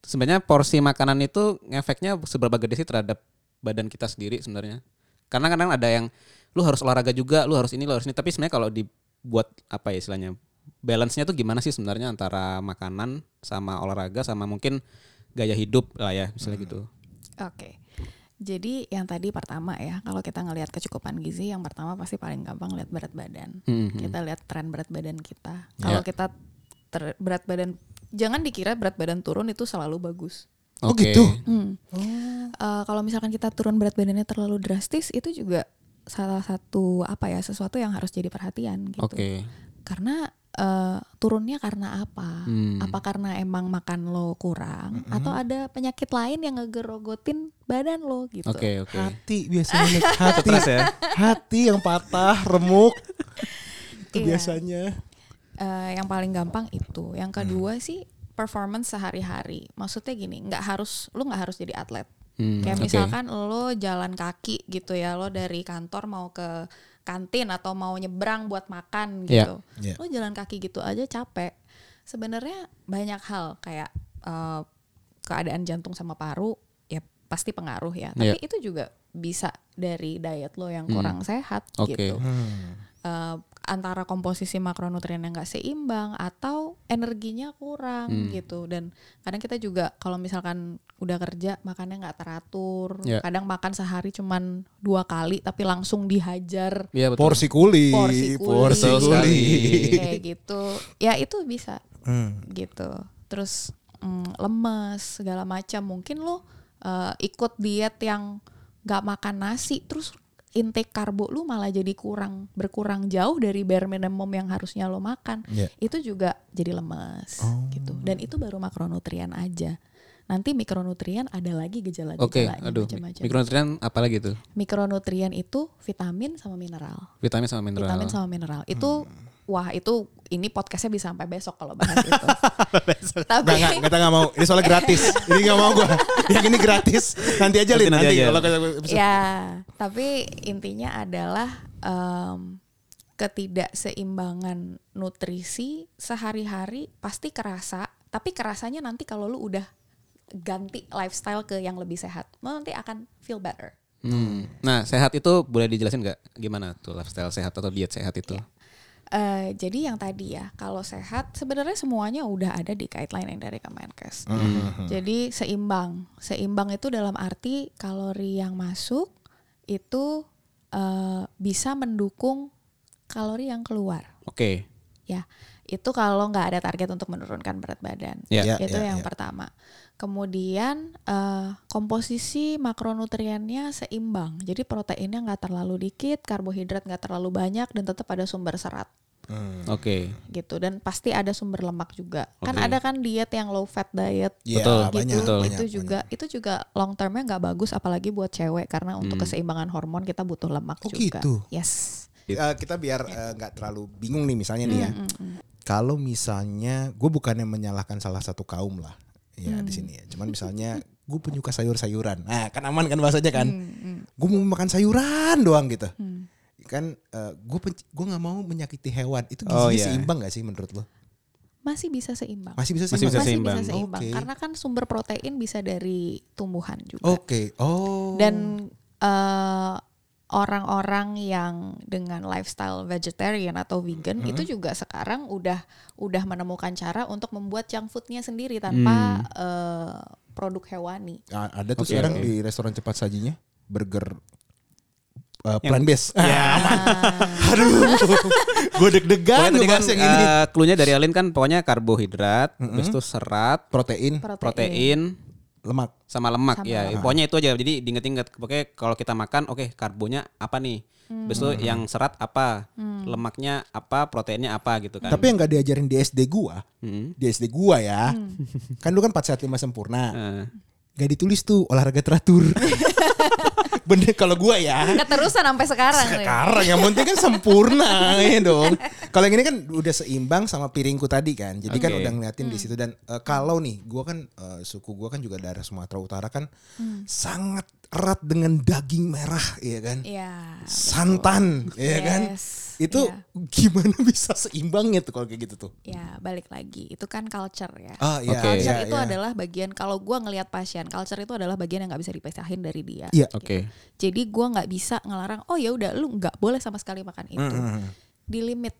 [SPEAKER 2] Sebenarnya porsi makanan itu ngefeknya seberapa gede sih terhadap badan kita sendiri sebenarnya? Karena kadang ada yang lu harus olahraga juga, lu harus ini, lu harus ini. Tapi sebenarnya kalau dibuat apa ya istilahnya balance-nya tuh gimana sih sebenarnya antara makanan sama olahraga sama mungkin gaya hidup lah ya misalnya gitu.
[SPEAKER 3] Oke. Jadi yang tadi pertama ya, kalau kita ngelihat kecukupan gizi, yang pertama pasti paling gampang lihat berat badan.
[SPEAKER 2] Mhm.
[SPEAKER 3] Kita lihat tren berat badan kita. Kalau
[SPEAKER 2] Ya.
[SPEAKER 3] kita ter- berat badan, jangan dikira berat badan turun itu selalu bagus.
[SPEAKER 1] Oh,
[SPEAKER 2] Oke.
[SPEAKER 1] gitu?
[SPEAKER 3] Hmm. Eh, kalau misalkan kita turun berat badannya terlalu drastis, itu juga salah satu apa ya sesuatu yang harus jadi perhatian gitu.
[SPEAKER 2] Oke.
[SPEAKER 3] Karena eh, turunnya karena apa?
[SPEAKER 2] Hmm.
[SPEAKER 3] Apa karena emang makan lo kurang atau ada penyakit lain yang ngegerogotin badan lo gitu.
[SPEAKER 2] Oke, oke.
[SPEAKER 1] Hati biasanya Nek. hati
[SPEAKER 2] Stres ya.
[SPEAKER 1] hati yang patah remuk itu
[SPEAKER 3] Iya.
[SPEAKER 1] biasanya.
[SPEAKER 3] Eh, yang paling gampang itu. Yang
[SPEAKER 2] Mm.
[SPEAKER 3] kedua sih performance sehari-hari. Maksudnya gini, nggak harus lu nggak harus jadi atlet.
[SPEAKER 2] Hmm,
[SPEAKER 3] Kayak
[SPEAKER 2] oke.
[SPEAKER 3] misalkan lo jalan kaki gitu ya, lo dari kantor mau ke kantin atau mau nyebrang
[SPEAKER 2] Ya.
[SPEAKER 3] buat makan gitu.
[SPEAKER 1] Iya.
[SPEAKER 3] Lo jalan kaki gitu aja capek. Sebenarnya banyak hal kayak eh, keadaan jantung sama paru ya pasti pengaruh ya. Tapi itu juga bisa dari diet lo yang kurang sehat
[SPEAKER 2] Hmm. Oke.
[SPEAKER 3] gitu. Eh, antara komposisi makronutrien yang nggak seimbang atau energinya kurang gitu dan kadang kita juga kalau misalkan udah kerja makannya nggak teratur
[SPEAKER 2] Ya.
[SPEAKER 3] kadang makan sehari cuman dua kali tapi langsung dihajar
[SPEAKER 2] Iya betul.
[SPEAKER 1] Porsi kuli,
[SPEAKER 3] Porsi kuli.
[SPEAKER 1] porsi
[SPEAKER 2] Betul sekali.
[SPEAKER 1] kuli.
[SPEAKER 3] kayak gitu ya itu bisa
[SPEAKER 1] Hmm.
[SPEAKER 3] gitu terus mm, lemes segala macam mungkin lo uh, ikut diet yang nggak makan nasi terus intake karbo lu malah jadi kurang berkurang jauh dari bare minimum yang harusnya lo makan
[SPEAKER 1] Iya.
[SPEAKER 3] itu juga jadi lemes
[SPEAKER 1] Oh.
[SPEAKER 3] gitu dan itu baru makronutrien aja nanti mikronutrien ada lagi
[SPEAKER 2] Oke,
[SPEAKER 3] gejala-gejalanya
[SPEAKER 2] aduh.
[SPEAKER 3] gitu macam-macam
[SPEAKER 2] Mikronutrien apa lagi tuh?
[SPEAKER 3] mikronutrien itu vitamin sama mineral
[SPEAKER 2] Vitamin sama mineral.
[SPEAKER 3] vitamin sama mineral itu
[SPEAKER 1] Hmm.
[SPEAKER 3] wah itu ini podcastnya bisa sampai besok kalau bahas itu
[SPEAKER 1] Nggak, nggak,
[SPEAKER 3] tapi
[SPEAKER 1] kata nggak mau. Ini soalnya gratis. ini nggak mau gua. Yang ini gratis. Nanti aja
[SPEAKER 2] Nanti
[SPEAKER 1] Lin.
[SPEAKER 2] nanti
[SPEAKER 1] Nanti,
[SPEAKER 2] aja.
[SPEAKER 1] kalau kata
[SPEAKER 3] ya tapi intinya adalah em, ketidakseimbangan nutrisi sehari-hari pasti kerasa tapi kerasanya nanti kalau lu udah ganti lifestyle ke yang lebih sehat lu nanti akan feel better
[SPEAKER 2] Hmm. Nah, sehat itu boleh dijelasin nggak gimana tuh lifestyle sehat atau diet sehat itu?
[SPEAKER 1] Iya.
[SPEAKER 3] Eh, jadi yang tadi ya, kalau sehat sebenarnya semuanya udah ada di guideline yang dari Kemenkes. Hmm.
[SPEAKER 1] Hmm.
[SPEAKER 3] Jadi seimbang. Seimbang itu dalam arti kalori yang masuk itu eh, bisa mendukung kalori yang keluar.
[SPEAKER 2] Oke.
[SPEAKER 3] Ya, itu kalau nggak ada target untuk menurunkan berat badan.
[SPEAKER 2] Ya.
[SPEAKER 1] Ya.
[SPEAKER 3] itu yang pertama. Kemudian eh, komposisi makronutriennya seimbang. Jadi proteinnya nggak terlalu dikit, karbohidrat nggak terlalu banyak, dan tetap ada sumber serat
[SPEAKER 2] Oke.
[SPEAKER 3] gitu dan pasti ada sumber lemak juga kan
[SPEAKER 2] Oke.
[SPEAKER 3] ada kan diet yang low fat diet
[SPEAKER 1] Iya,
[SPEAKER 2] Betul.
[SPEAKER 3] gitu
[SPEAKER 1] banyak,
[SPEAKER 3] itu
[SPEAKER 1] banyak, banyak.
[SPEAKER 3] juga itu juga long termnya nggak bagus apalagi buat cewek karena untuk
[SPEAKER 1] Hmm.
[SPEAKER 3] keseimbangan hormon kita butuh lemak
[SPEAKER 1] Oh,
[SPEAKER 3] juga
[SPEAKER 1] gitu.
[SPEAKER 3] yes Mm,
[SPEAKER 1] Eh, kita biar eh, nggak terlalu bingung nih misalnya nih ya. Kalau misalnya gue bukannya menyalahkan salah satu kaum lah ya di sini ya. Cuman misalnya gue penyuka sayur-sayuran. Nah, kan aman kan bahasanya kan.
[SPEAKER 3] Hmm. mm,
[SPEAKER 1] Gue mau makan sayuran doang gitu. Kan gue gue nggak mau menyakiti hewan. Itu gizinya
[SPEAKER 2] Oh, iya.
[SPEAKER 1] seimbang gak sih menurut lo?
[SPEAKER 3] masih bisa seimbang
[SPEAKER 1] Masih bisa
[SPEAKER 2] Masih
[SPEAKER 1] seimbang.
[SPEAKER 2] bisa seimbang.
[SPEAKER 1] Oke.
[SPEAKER 3] karena kan sumber protein bisa dari tumbuhan juga
[SPEAKER 1] Oke. Oh.
[SPEAKER 3] dan eh, orang-orang yang dengan lifestyle vegetarian atau vegan
[SPEAKER 1] Mm-hmm.
[SPEAKER 3] itu juga sekarang udah udah menemukan cara untuk membuat junk foodnya sendiri
[SPEAKER 1] Hmm.
[SPEAKER 3] tanpa eh, produk hewani.
[SPEAKER 1] A- ada tuh
[SPEAKER 2] Oke,
[SPEAKER 1] sekarang
[SPEAKER 2] oke.
[SPEAKER 1] di restoran cepat sajinya burger uh, plant based. Aduh, gue deg-degan
[SPEAKER 2] Ya. Pokoknya tadi kan
[SPEAKER 1] ngebahas yang ini.
[SPEAKER 2] eh, clue-nya dari Alin kan pokoknya karbohidrat, habis itu serat,
[SPEAKER 1] Protein,
[SPEAKER 2] protein,
[SPEAKER 1] lemak.
[SPEAKER 2] sama lemak
[SPEAKER 3] Sama
[SPEAKER 2] ya. Pokoknya itu aja. Jadi diinget-inget pokoknya kalau kita makan oke karbonya apa nih?
[SPEAKER 1] Hmm.
[SPEAKER 2] Habis itu yang serat apa? Lemaknya apa? Proteinnya apa gitu kan. Hmm.
[SPEAKER 1] Tapi yang gak diajarin di SD gua, di SD gua ya,
[SPEAKER 3] Hmm.
[SPEAKER 1] kan lu kan 4 sehat 5 sempurna.
[SPEAKER 2] Eh,
[SPEAKER 1] Gak ditulis tuh olahraga teratur. Bener kalau gua ya.
[SPEAKER 3] Keterusan sampai sekarang. ya. Rin.
[SPEAKER 1] Sekarang yang penting kan sempurna ya dong. Kalau yang ini kan udah seimbang sama piringku tadi kan. Jadi kan
[SPEAKER 2] Oke.
[SPEAKER 1] udah ngeliatin
[SPEAKER 3] Hmm.
[SPEAKER 1] di situ dan eh, kalau nih gua kan eh, suku gua kan juga daerah Sumatera Utara kan
[SPEAKER 3] Hmm.
[SPEAKER 1] sangat erat dengan daging merah ya kan.
[SPEAKER 3] Iya.
[SPEAKER 1] Santan ya kan.
[SPEAKER 3] Yes,
[SPEAKER 1] Itu
[SPEAKER 3] iya.
[SPEAKER 1] gimana bisa seimbangnya tuh kalau kayak gitu tuh.
[SPEAKER 3] Ya, balik lagi. Itu kan culture ya.
[SPEAKER 1] Ah iya.
[SPEAKER 2] Oke.
[SPEAKER 1] iya,
[SPEAKER 3] Culture itu
[SPEAKER 1] iya.
[SPEAKER 3] adalah bagian kalau gua ngelihat pasien, culture itu adalah bagian yang nggak bisa dipisahin dari dia.
[SPEAKER 1] Iya.
[SPEAKER 2] Oke.
[SPEAKER 3] Jadi gua nggak bisa ngelarang. Oh ya udah, lu nggak boleh sama sekali makan itu. Di limit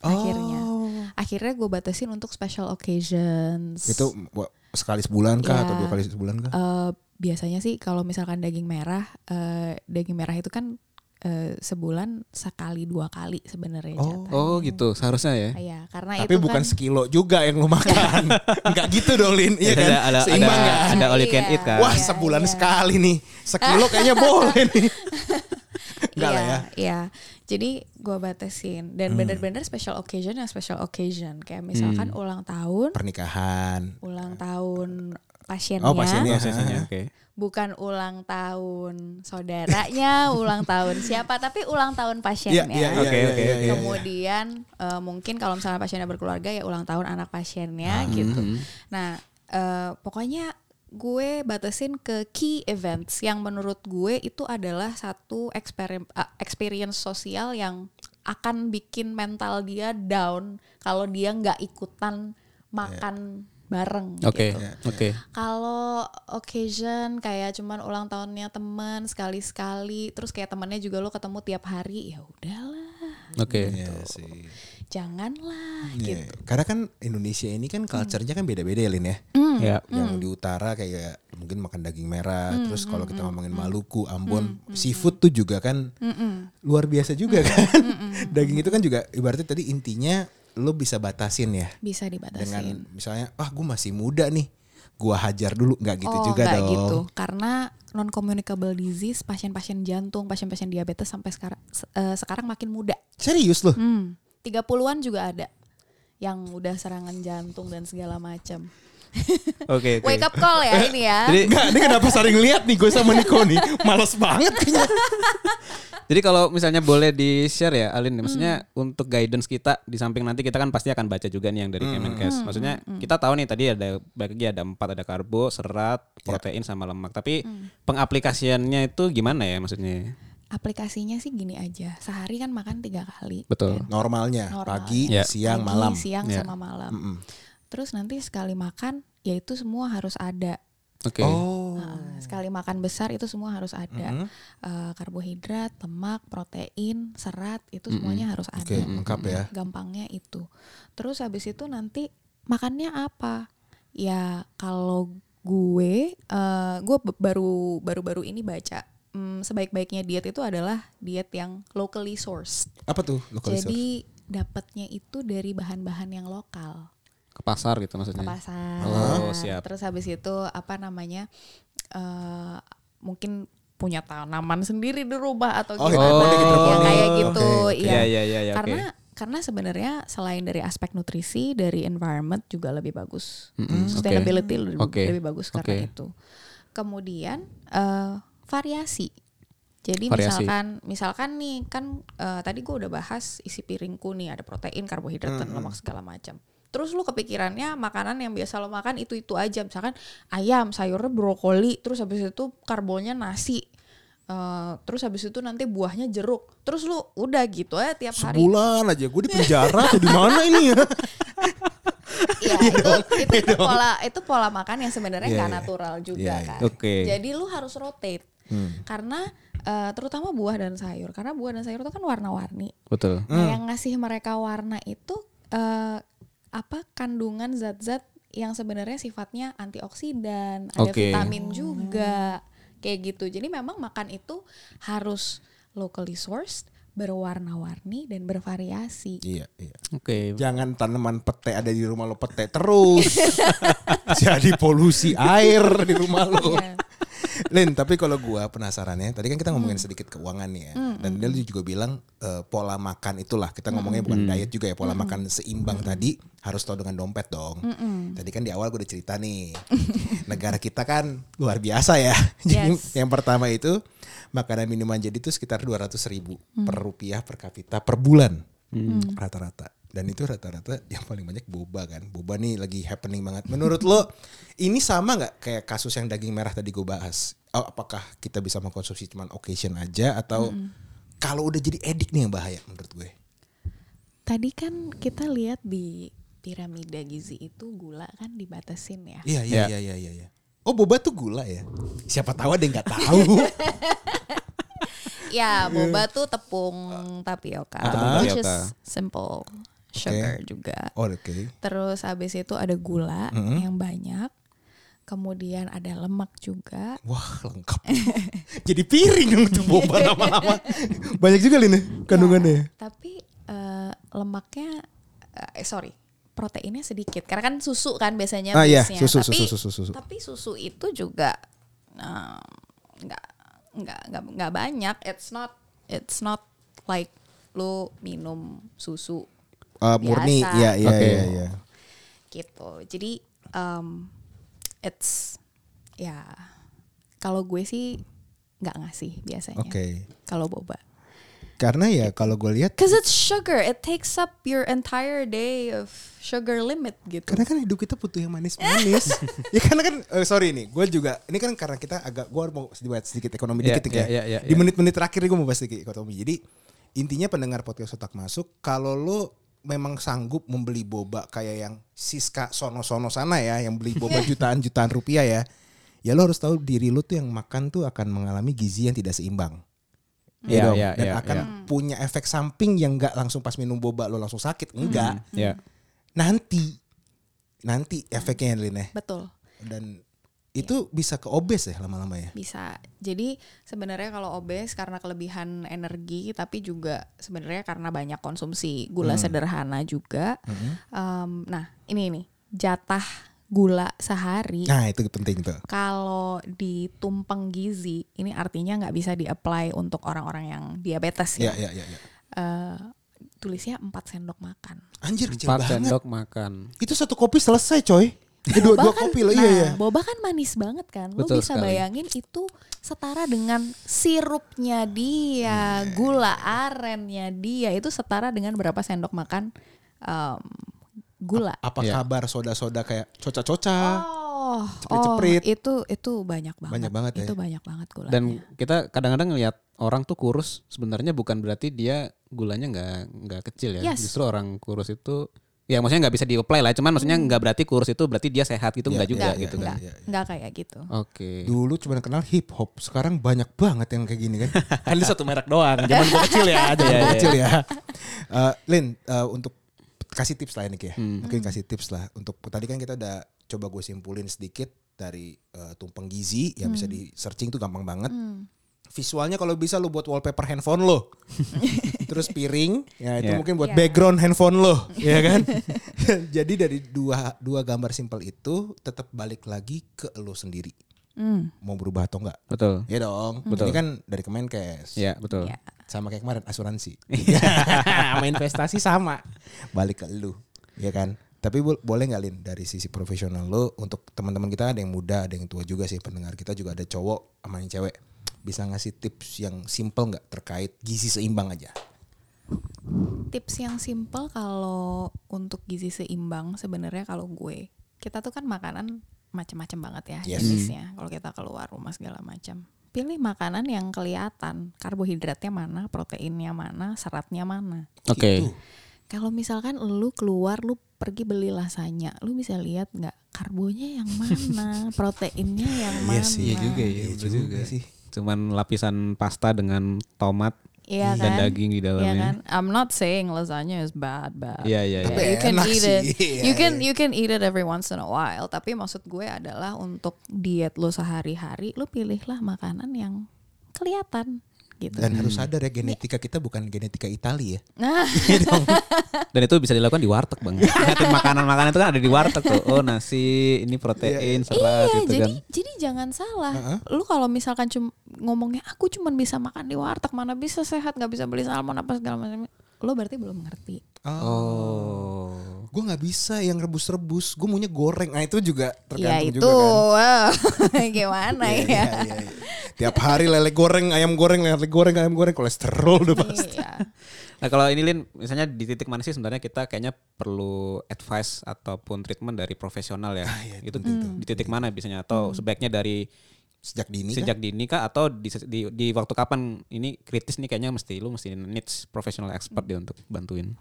[SPEAKER 3] akhirnya.
[SPEAKER 1] Oh.
[SPEAKER 3] Akhirnya gue batasin untuk special occasions.
[SPEAKER 1] Itu w- sekali sebulan kah atau
[SPEAKER 3] Iya.
[SPEAKER 1] dua kali sebulan kah?
[SPEAKER 3] Eh, biasanya sih kalau misalkan daging merah, eh, daging merah itu kan eh, sebulan sekali dua kali sebenarnya
[SPEAKER 1] Oh.
[SPEAKER 3] jatahnya.
[SPEAKER 2] Oh gitu, seharusnya ya.
[SPEAKER 3] Iya, karena
[SPEAKER 1] Tapi
[SPEAKER 3] itu
[SPEAKER 1] bukan
[SPEAKER 3] kan,
[SPEAKER 1] sekilo juga yang lu makan. Enggak gitu dong, Lin. Iya
[SPEAKER 2] Ada-
[SPEAKER 1] kan?
[SPEAKER 2] ada, ada,
[SPEAKER 1] Seimbang
[SPEAKER 2] ada,
[SPEAKER 1] kan?
[SPEAKER 2] ada all you can
[SPEAKER 4] Iya.
[SPEAKER 2] eat kan.
[SPEAKER 1] Wah,
[SPEAKER 4] Iya,
[SPEAKER 1] sebulan
[SPEAKER 4] iya.
[SPEAKER 1] sekali nih. Sekilo kayaknya boleh nih. Enggak
[SPEAKER 4] iya,
[SPEAKER 1] lah ya. Hmm.
[SPEAKER 4] Iya.
[SPEAKER 3] Jadi gue batasin dan bener-bener special occasion yang special occasion kayak misalkan
[SPEAKER 1] Hmm.
[SPEAKER 3] ulang tahun,
[SPEAKER 1] Pernikahan.
[SPEAKER 3] ulang tahun pasiennya,
[SPEAKER 1] Oh, pasiennya.
[SPEAKER 2] Ini biasanya, Iya, oke.
[SPEAKER 1] Iya.
[SPEAKER 3] bukan ulang tahun saudaranya, ulang tahun siapa tapi ulang tahun pasiennya.
[SPEAKER 2] Oke, oke,
[SPEAKER 1] iya,
[SPEAKER 2] oke.
[SPEAKER 1] iya.
[SPEAKER 3] ya. Kemudian eh, mungkin kalau misalnya pasiennya berkeluarga ya ulang tahun anak pasiennya
[SPEAKER 1] Hmm.
[SPEAKER 3] gitu. Nah, eh, pokoknya gue batasin ke key events yang menurut gue itu adalah satu eksperim- eh, experience sosial yang akan bikin mental dia down kalau dia nggak
[SPEAKER 1] Iya.
[SPEAKER 3] ikutan makan bareng
[SPEAKER 2] Oke,
[SPEAKER 3] gitu.
[SPEAKER 2] oke.
[SPEAKER 3] Kalau occasion kayak cuman ulang tahunnya teman sekali-sekali, terus kayak temannya juga lo ketemu tiap hari, ya udahlah,
[SPEAKER 2] Oke. Ya.
[SPEAKER 1] Iya sih.
[SPEAKER 3] janganlah
[SPEAKER 1] Iya.
[SPEAKER 3] gitu. Hmm.
[SPEAKER 1] Karena kan Indonesia ini kan culture-nya kan beda-beda ya, Lin ya.
[SPEAKER 2] Ya.
[SPEAKER 1] Yang di utara kayak mungkin makan daging merah,
[SPEAKER 3] Hmm,
[SPEAKER 1] terus kalau kita ngomongin Maluku, Ambon, seafood tuh juga kan
[SPEAKER 3] Hmm,
[SPEAKER 1] luar biasa juga kan. daging itu kan juga ibaratnya tadi intinya lo bisa batasin ya
[SPEAKER 3] Bisa dibatasin.
[SPEAKER 1] dengan misalnya ah gue masih muda nih, gua hajar dulu nggak gitu juga
[SPEAKER 3] nggak
[SPEAKER 1] dong.
[SPEAKER 3] gitu. Karena non communicable disease, pasien-pasien jantung, pasien-pasien diabetes sampai sekarang se- eh, sekarang makin muda.
[SPEAKER 1] Serius loh.
[SPEAKER 3] Hmm, 30-an juga ada yang udah serangan jantung dan segala macam.
[SPEAKER 2] Oke, oke.
[SPEAKER 3] Wake up call ya ini ya.
[SPEAKER 2] Jadi
[SPEAKER 1] Enggak, ini kenapa sering lihat nih gue sama Niko nih. Males banget kayaknya.
[SPEAKER 2] Jadi kalau misalnya boleh di share ya
[SPEAKER 3] Hmm.
[SPEAKER 2] Alin, maksudnya untuk guidance kita di samping nanti kita kan pasti akan baca juga nih yang
[SPEAKER 1] Hmm.
[SPEAKER 2] dari
[SPEAKER 3] Hmm.
[SPEAKER 2] Kemenkes. Maksudnya kita tahu nih tadi ada bagi ada empat ada karbo, serat,
[SPEAKER 1] Ya.
[SPEAKER 2] protein sama lemak. Tapi
[SPEAKER 3] Hmm.
[SPEAKER 2] pengaplikasiannya itu gimana ya maksudnya?
[SPEAKER 3] Aplikasinya sih gini aja. Sehari kan makan tiga kali.
[SPEAKER 2] Betul.
[SPEAKER 1] Normalnya,
[SPEAKER 3] Normal.
[SPEAKER 1] pagi,
[SPEAKER 2] Ya.
[SPEAKER 1] siang,
[SPEAKER 3] Pagi,
[SPEAKER 1] malam.
[SPEAKER 3] siang
[SPEAKER 2] Ya.
[SPEAKER 3] sama malam.
[SPEAKER 1] Mm-mm.
[SPEAKER 3] Terus nanti sekali makan ya itu semua harus ada.
[SPEAKER 2] Oke.
[SPEAKER 1] Oh.
[SPEAKER 3] Nah, sekali makan besar itu semua harus ada. Eh, karbohidrat, lemak, protein, serat itu semuanya harus ada.
[SPEAKER 1] Oke, lengkap ya.
[SPEAKER 3] Gampangnya itu. Terus habis itu nanti makannya apa? Ya kalau gue eh, gue b- baru baru-baru ini baca hmm, sebaik-baiknya diet itu adalah diet yang locally sourced.
[SPEAKER 1] Apa tuh? Local reserve?
[SPEAKER 3] Jadi dapatnya itu dari bahan-bahan yang lokal
[SPEAKER 2] Ke pasar gitu maksudnya.
[SPEAKER 3] ke pasar. Nah,
[SPEAKER 2] Oh, siap.
[SPEAKER 3] Terus habis itu apa namanya? eh mungkin punya tanaman sendiri di rumah atau
[SPEAKER 1] Oh,
[SPEAKER 3] gimana
[SPEAKER 1] hidroponik,
[SPEAKER 3] ya,
[SPEAKER 1] hidroponik.
[SPEAKER 3] kayak gitu.
[SPEAKER 1] Oke,
[SPEAKER 3] Iya.
[SPEAKER 2] Iya, iya, iya, iya, oke.
[SPEAKER 3] Karena karena sebenarnya selain dari aspek nutrisi, dari environment juga lebih bagus.
[SPEAKER 2] Mm-mm,
[SPEAKER 3] Sustainability
[SPEAKER 2] oke.
[SPEAKER 3] lebih,
[SPEAKER 2] Oke,
[SPEAKER 3] lebih bagus karena
[SPEAKER 2] oke.
[SPEAKER 3] itu. Kemudian eh, variasi. Jadi
[SPEAKER 2] Variasi.
[SPEAKER 3] misalkan misalkan nih kan eh, tadi gue udah bahas isi piringku nih ada protein,
[SPEAKER 1] Hmm,
[SPEAKER 3] karbohidrat, dan lemak segala macam. Terus lu kepikirannya makanan yang biasa lo makan itu-itu aja misalkan ayam, sayurnya brokoli, terus habis itu karbonnya nasi. Eh, terus habis itu nanti buahnya jeruk. Terus lu udah gitu ya tiap hari.
[SPEAKER 1] Sebulan aja gue di penjara atau di mana ini ya?
[SPEAKER 3] Iya, itu, itu, itu pola itu pola makan yang sebenarnya
[SPEAKER 1] Iya,
[SPEAKER 3] nggak
[SPEAKER 1] iya.
[SPEAKER 3] natural juga
[SPEAKER 1] Iya, Hmm. iya.
[SPEAKER 3] kan.
[SPEAKER 2] Oke.
[SPEAKER 3] Jadi lu harus rotate karena eh, terutama buah dan sayur karena buah dan sayur itu kan warna-warni.
[SPEAKER 2] Betul.
[SPEAKER 3] Nah, yang ngasih mereka warna itu eh, apa kandungan zat-zat yang sebenarnya sifatnya antioksidan, ada
[SPEAKER 2] Oke.
[SPEAKER 3] vitamin juga kayak gitu. Jadi memang makan itu harus locally sourced, berwarna-warni dan bervariasi.
[SPEAKER 1] Iya, iya.
[SPEAKER 2] Oke.
[SPEAKER 1] Jangan tanaman pete ada di rumah lo pete terus. Jadi polusi air di rumah lo. Lin, tapi kalau gua penasarannya, tadi kan kita ngomongin sedikit keuangan nih ya. Dan dia juga bilang eh, pola makan itulah. Kita ngomongnya bukan diet juga ya, pola makan seimbang tadi harus tahu dengan dompet dong. Tadi kan di awal gue udah cerita nih. Negara kita kan luar biasa ya. Jadi
[SPEAKER 3] Yes.
[SPEAKER 1] yang pertama itu makanan minuman jadi itu sekitar 200 ribu per rupiah per kapita per bulan rata-rata. Dan itu rata-rata yang paling banyak boba kan. Boba nih lagi happening banget. Menurut lo ini sama nggak kayak kasus yang daging merah tadi gue bahas? Oh, apakah kita bisa mengkonsumsi cuman occasion aja atau kalau udah jadi edik nih yang bahaya menurut gue?
[SPEAKER 3] Tadi kan kita lihat di piramida gizi itu gula kan dibatasin ya.
[SPEAKER 1] Iya iya iya iya iya. iya. Oh boba tuh gula ya? Siapa tahu ada yang nggak tahu.
[SPEAKER 3] Ya, boba tuh tepung tapioka,
[SPEAKER 2] Iya. Tepung
[SPEAKER 3] which is
[SPEAKER 2] tapioka.
[SPEAKER 3] simple sugar juga.
[SPEAKER 1] Oh, Oke.
[SPEAKER 3] Terus habis itu ada gula yang banyak. kemudian ada lemak juga.
[SPEAKER 1] Wah lengkap. Jadi piring dong tuh boba lama-lama. Banyak juga Lin ya kandungannya.
[SPEAKER 3] Tapi eh, lemaknya eh sorry proteinnya sedikit karena kan susu kan biasanya
[SPEAKER 1] Ah, iya.
[SPEAKER 3] basenya.
[SPEAKER 1] Susu,
[SPEAKER 3] tapi
[SPEAKER 1] susu, susu, susu.
[SPEAKER 3] tapi susu itu juga eh, nggak nggak nggak nggak banyak it's not it's not like lu minum susu
[SPEAKER 1] Eh, murni,
[SPEAKER 3] Biasa.
[SPEAKER 1] ya, ya,
[SPEAKER 2] Oke.
[SPEAKER 1] ya, ya.
[SPEAKER 3] gitu jadi em, it's ya kalau gue sih nggak ngasih biasanya
[SPEAKER 1] Oke.
[SPEAKER 3] kalau boba
[SPEAKER 1] Karena ya kalau gue lihat,
[SPEAKER 3] Cause it's sugar, it takes up your entire day of sugar limit gitu.
[SPEAKER 1] karena kan hidup kita butuh yang manis-manis. ya karena kan, eh, sorry nih, gue juga, ini kan karena kita agak, gue mau sedikit, sedikit ekonomi
[SPEAKER 2] Iya,
[SPEAKER 1] dikit nih,
[SPEAKER 2] iya,
[SPEAKER 1] kayak.
[SPEAKER 2] iya, iya,
[SPEAKER 1] Di
[SPEAKER 2] iya.
[SPEAKER 1] menit-menit terakhir gue mau bahas sedikit ekonomi. Jadi intinya pendengar podcast otak masuk, kalau lo memang sanggup membeli boba kayak yang Siska sono-sono sana ya, yang beli boba jutaan-jutaan rupiah ya, ya lo harus tahu diri lo tuh yang makan tuh akan mengalami gizi yang tidak seimbang.
[SPEAKER 2] Iya,
[SPEAKER 1] Ya dong.
[SPEAKER 2] iya,
[SPEAKER 1] dan
[SPEAKER 2] iya,
[SPEAKER 1] akan
[SPEAKER 2] iya.
[SPEAKER 1] punya efek samping yang nggak langsung pas minum boba lo langsung sakit enggak
[SPEAKER 2] Ya.
[SPEAKER 1] nanti nanti efeknya Lin ya.
[SPEAKER 3] Betul,
[SPEAKER 1] dan itu bisa ke obes ya lama-lama ya
[SPEAKER 3] bisa. Jadi sebenarnya kalau obes karena kelebihan energi, tapi juga sebenarnya karena banyak konsumsi gula
[SPEAKER 1] Hmm.
[SPEAKER 3] sederhana juga. Em, nah, ini nih jatah gula sehari.
[SPEAKER 1] nah itu penting tuh
[SPEAKER 3] Kalau di tumpeng gizi, ini artinya nggak bisa di-apply untuk orang-orang yang diabetes
[SPEAKER 1] ya
[SPEAKER 3] ya.
[SPEAKER 1] ya ya, ya.
[SPEAKER 3] Eh, tulisnya 4 sendok makan.
[SPEAKER 1] anjir kecil
[SPEAKER 2] Empat
[SPEAKER 1] banget
[SPEAKER 2] sendok makan.
[SPEAKER 1] itu satu kopi selesai coy itu dua, dua
[SPEAKER 3] Boba kan-
[SPEAKER 1] kopi loh
[SPEAKER 3] nah,
[SPEAKER 1] iya ya
[SPEAKER 3] Boba kan manis banget kan. Lo
[SPEAKER 2] Betul
[SPEAKER 3] bisa
[SPEAKER 2] sekali.
[SPEAKER 3] bayangin itu setara dengan sirupnya dia,
[SPEAKER 1] Hmm.
[SPEAKER 3] gula arennya dia itu setara dengan berapa sendok makan em, gula.
[SPEAKER 1] apa
[SPEAKER 2] Iya.
[SPEAKER 1] kabar soda-soda kayak coca-coca
[SPEAKER 3] Oh,
[SPEAKER 1] ceprit-ceprit.
[SPEAKER 3] oh, itu itu banyak banget.
[SPEAKER 1] Banyak banget ya.
[SPEAKER 3] Itu banyak banget gula.
[SPEAKER 2] Dan kita kadang-kadang ngelihat orang tuh kurus sebenarnya bukan berarti dia gulanya nggak nggak kecil ya.
[SPEAKER 3] Yes.
[SPEAKER 2] Justru orang kurus itu ya maksudnya nggak bisa di-apply lah. Cuman maksudnya
[SPEAKER 3] Hmm.
[SPEAKER 2] nggak berarti kurus itu berarti dia sehat gitu
[SPEAKER 1] Iya,
[SPEAKER 2] nggak juga
[SPEAKER 1] iya, iya,
[SPEAKER 2] gitu
[SPEAKER 1] iya.
[SPEAKER 2] kan.
[SPEAKER 3] enggak, enggak kayak gitu.
[SPEAKER 2] Oke.
[SPEAKER 1] dulu cuma kenal hip hop sekarang banyak banget yang kayak gini kan
[SPEAKER 2] Kan itu satu merek doang. Cuman gua kecil ya.
[SPEAKER 1] Jangan
[SPEAKER 2] Iya, iya.
[SPEAKER 1] kecil ya. Eh, Lin, eh, untuk kasih tips lah ini Ki, ya.
[SPEAKER 2] Hmm.
[SPEAKER 1] Mungkin kasih tips lah untuk tadi kan kita udah coba gue simpulin sedikit dari eh, tumpeng gizi yang
[SPEAKER 2] Hmm.
[SPEAKER 1] bisa di searching tuh gampang banget. Visualnya kalau bisa lu buat wallpaper handphone lo. Terus piring, ya itu
[SPEAKER 2] Iya.
[SPEAKER 1] mungkin buat
[SPEAKER 3] Iya.
[SPEAKER 1] background handphone lo, ya kan? Jadi dari dua dua gambar simpel itu tetap balik lagi ke lo sendiri.
[SPEAKER 3] Hmm.
[SPEAKER 1] Mau berubah atau enggak?
[SPEAKER 2] Hmm. Betul.
[SPEAKER 1] Ya dong. Ini kan dari Kemenkes
[SPEAKER 2] Iya, betul.
[SPEAKER 3] Iya.
[SPEAKER 1] sama kayak kemarin asuransi sama investasi sama balik ke lu ya kan tapi bo- boleh nggak Lin dari sisi profesional lu untuk teman-teman kita ada yang muda ada yang tua juga sih pendengar kita juga ada cowok sama yang cewek bisa ngasih tips yang simple nggak terkait gizi seimbang aja
[SPEAKER 3] Tips yang simpel kalau untuk gizi seimbang sebenarnya kalau gue kita tuh kan makanan macam-macam banget ya
[SPEAKER 1] Yes.
[SPEAKER 3] jenisnya kalau kita keluar rumah segala macam. Pilih makanan yang kelihatan karbohidratnya mana, proteinnya mana, seratnya mana.
[SPEAKER 2] Oke.
[SPEAKER 1] Gitu.
[SPEAKER 3] Kalau misalkan lu keluar lu pergi beli lasanya, lu bisa lihat nggak karbonya yang mana, proteinnya yang
[SPEAKER 1] Iya
[SPEAKER 3] mana.
[SPEAKER 1] sih, iya juga ya,
[SPEAKER 2] Iya
[SPEAKER 1] bener juga sih.
[SPEAKER 2] Cuman lapisan pasta dengan tomat
[SPEAKER 3] Iya
[SPEAKER 2] dan
[SPEAKER 3] kan?
[SPEAKER 2] daging di
[SPEAKER 3] Iya kan?
[SPEAKER 2] dalamnya.
[SPEAKER 3] I'm not saying lasagna is bad, but
[SPEAKER 2] Iya, iya,
[SPEAKER 3] Yeah,
[SPEAKER 2] iya.
[SPEAKER 1] Tapi
[SPEAKER 3] you can
[SPEAKER 1] enak
[SPEAKER 3] eat
[SPEAKER 1] sih.
[SPEAKER 3] it. You
[SPEAKER 1] Iya,
[SPEAKER 3] can
[SPEAKER 1] iya.
[SPEAKER 3] you can eat it every once in a while. Tapi maksud gue adalah untuk diet lo sehari-hari, lo pilihlah makanan yang kelihatan gitu.
[SPEAKER 1] dan harus sadar ya genetika kita bukan genetika Italia ya
[SPEAKER 3] Nah,
[SPEAKER 2] Dan itu bisa dilakukan di warteg, Bang. Ingatin makanan-makanan itu kan ada di warteg tuh. Oh, nasi, ini protein, serat
[SPEAKER 3] iya.
[SPEAKER 2] gitu
[SPEAKER 3] jadi
[SPEAKER 2] kan.
[SPEAKER 3] jadi jangan salah. Lu kalau misalkan cum- ngomongnya aku cuman bisa makan di warteg, mana bisa sehat, nggak bisa beli salmon apa segala macam. Lo berarti belum ngerti.
[SPEAKER 2] Oh.
[SPEAKER 1] gue Ah, nggak bisa yang rebus-rebus gue maunya goreng nah itu juga
[SPEAKER 3] Ya
[SPEAKER 1] tergantung
[SPEAKER 3] itu
[SPEAKER 1] juga kan
[SPEAKER 3] wow, gimana ya?
[SPEAKER 1] Iya, iya, iya. Tiap hari lele goreng, ayam goreng, lele goreng, ayam goreng, kolesterol udah pasti.
[SPEAKER 3] Iya.
[SPEAKER 2] Nah, kalau ini Lin, misalnya di titik mana sih sebenarnya kita kayaknya perlu advice ataupun treatment dari profesional ya.
[SPEAKER 1] iya,
[SPEAKER 2] itu di titik mana biasanya atau sebaiknya dari
[SPEAKER 1] Sejak dini kan?
[SPEAKER 2] sejak dini kah atau di, di, di waktu kapan ini kritis nih kayaknya mesti lu mesti needs professional expert dia untuk bantuin.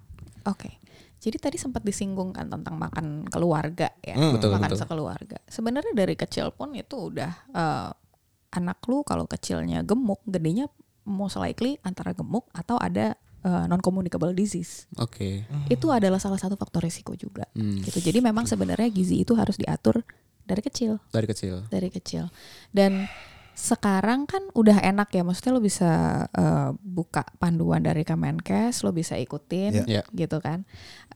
[SPEAKER 3] Oke. Jadi tadi sempat disinggung kan tentang makan keluarga ya,
[SPEAKER 1] Hmm.
[SPEAKER 2] Betul,
[SPEAKER 3] makan
[SPEAKER 2] betul.
[SPEAKER 3] sekeluarga. Sebenarnya dari kecil pun itu udah eh, anak lu kalau kecilnya gemuk, gedenya most likely antara gemuk atau ada eh, non communicable disease.
[SPEAKER 2] Oke.
[SPEAKER 3] Itu adalah salah satu faktor risiko juga.
[SPEAKER 2] Hmm.
[SPEAKER 3] Gitu. Jadi memang sebenarnya gizi itu harus diatur dari kecil
[SPEAKER 2] dari kecil.
[SPEAKER 3] dari kecil dan sekarang kan udah enak ya maksudnya lo bisa eh, buka panduan dari Kemenkes lo bisa
[SPEAKER 2] Iya.
[SPEAKER 3] ikutin
[SPEAKER 2] Iya.
[SPEAKER 3] gitu kan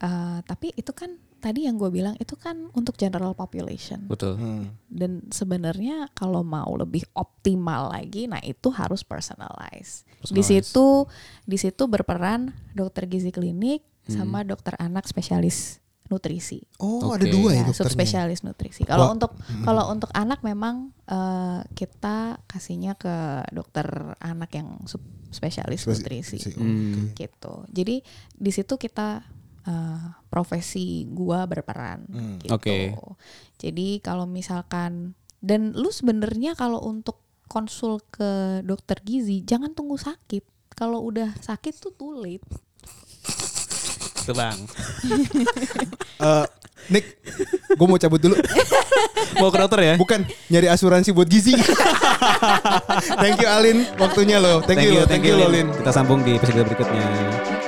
[SPEAKER 3] Eh, tapi itu kan tadi yang gue bilang itu kan untuk general population
[SPEAKER 2] Betul.
[SPEAKER 1] Hmm.
[SPEAKER 3] dan sebenarnya kalau mau lebih optimal lagi nah itu harus personalized di
[SPEAKER 2] Personalized.
[SPEAKER 3] situ di situ berperan dokter gizi klinik
[SPEAKER 2] Hmm.
[SPEAKER 3] sama dokter anak spesialis nutrisi
[SPEAKER 1] Oh ada
[SPEAKER 2] Oke.
[SPEAKER 1] dua ya
[SPEAKER 3] ya,
[SPEAKER 1] dokternya.
[SPEAKER 3] subspesialis nutrisi. Kalau
[SPEAKER 1] Wah.
[SPEAKER 3] untuk kalau untuk anak memang eh, kita kasihnya ke dokter anak yang sub- spesialis
[SPEAKER 1] Spesi-
[SPEAKER 3] nutrisi
[SPEAKER 1] si-
[SPEAKER 2] Hmm.
[SPEAKER 3] gitu. Jadi di situ kita eh, profesi gua berperan
[SPEAKER 1] Hmm.
[SPEAKER 3] gitu.
[SPEAKER 2] Oke.
[SPEAKER 3] Jadi kalau misalkan dan lu sebenarnya kalau untuk konsul ke dokter gizi jangan tunggu sakit. Kalau udah sakit tuh too late.
[SPEAKER 2] Itu bang.
[SPEAKER 1] Eh, Nick, gue mau cabut dulu.
[SPEAKER 2] Mau ke dokter ya?
[SPEAKER 1] Bukan nyari asuransi buat gizi. thank you Alin, waktunya lo. Thank, you, lo, thank you, lo Alin.
[SPEAKER 2] Kita sambung di episode berikutnya.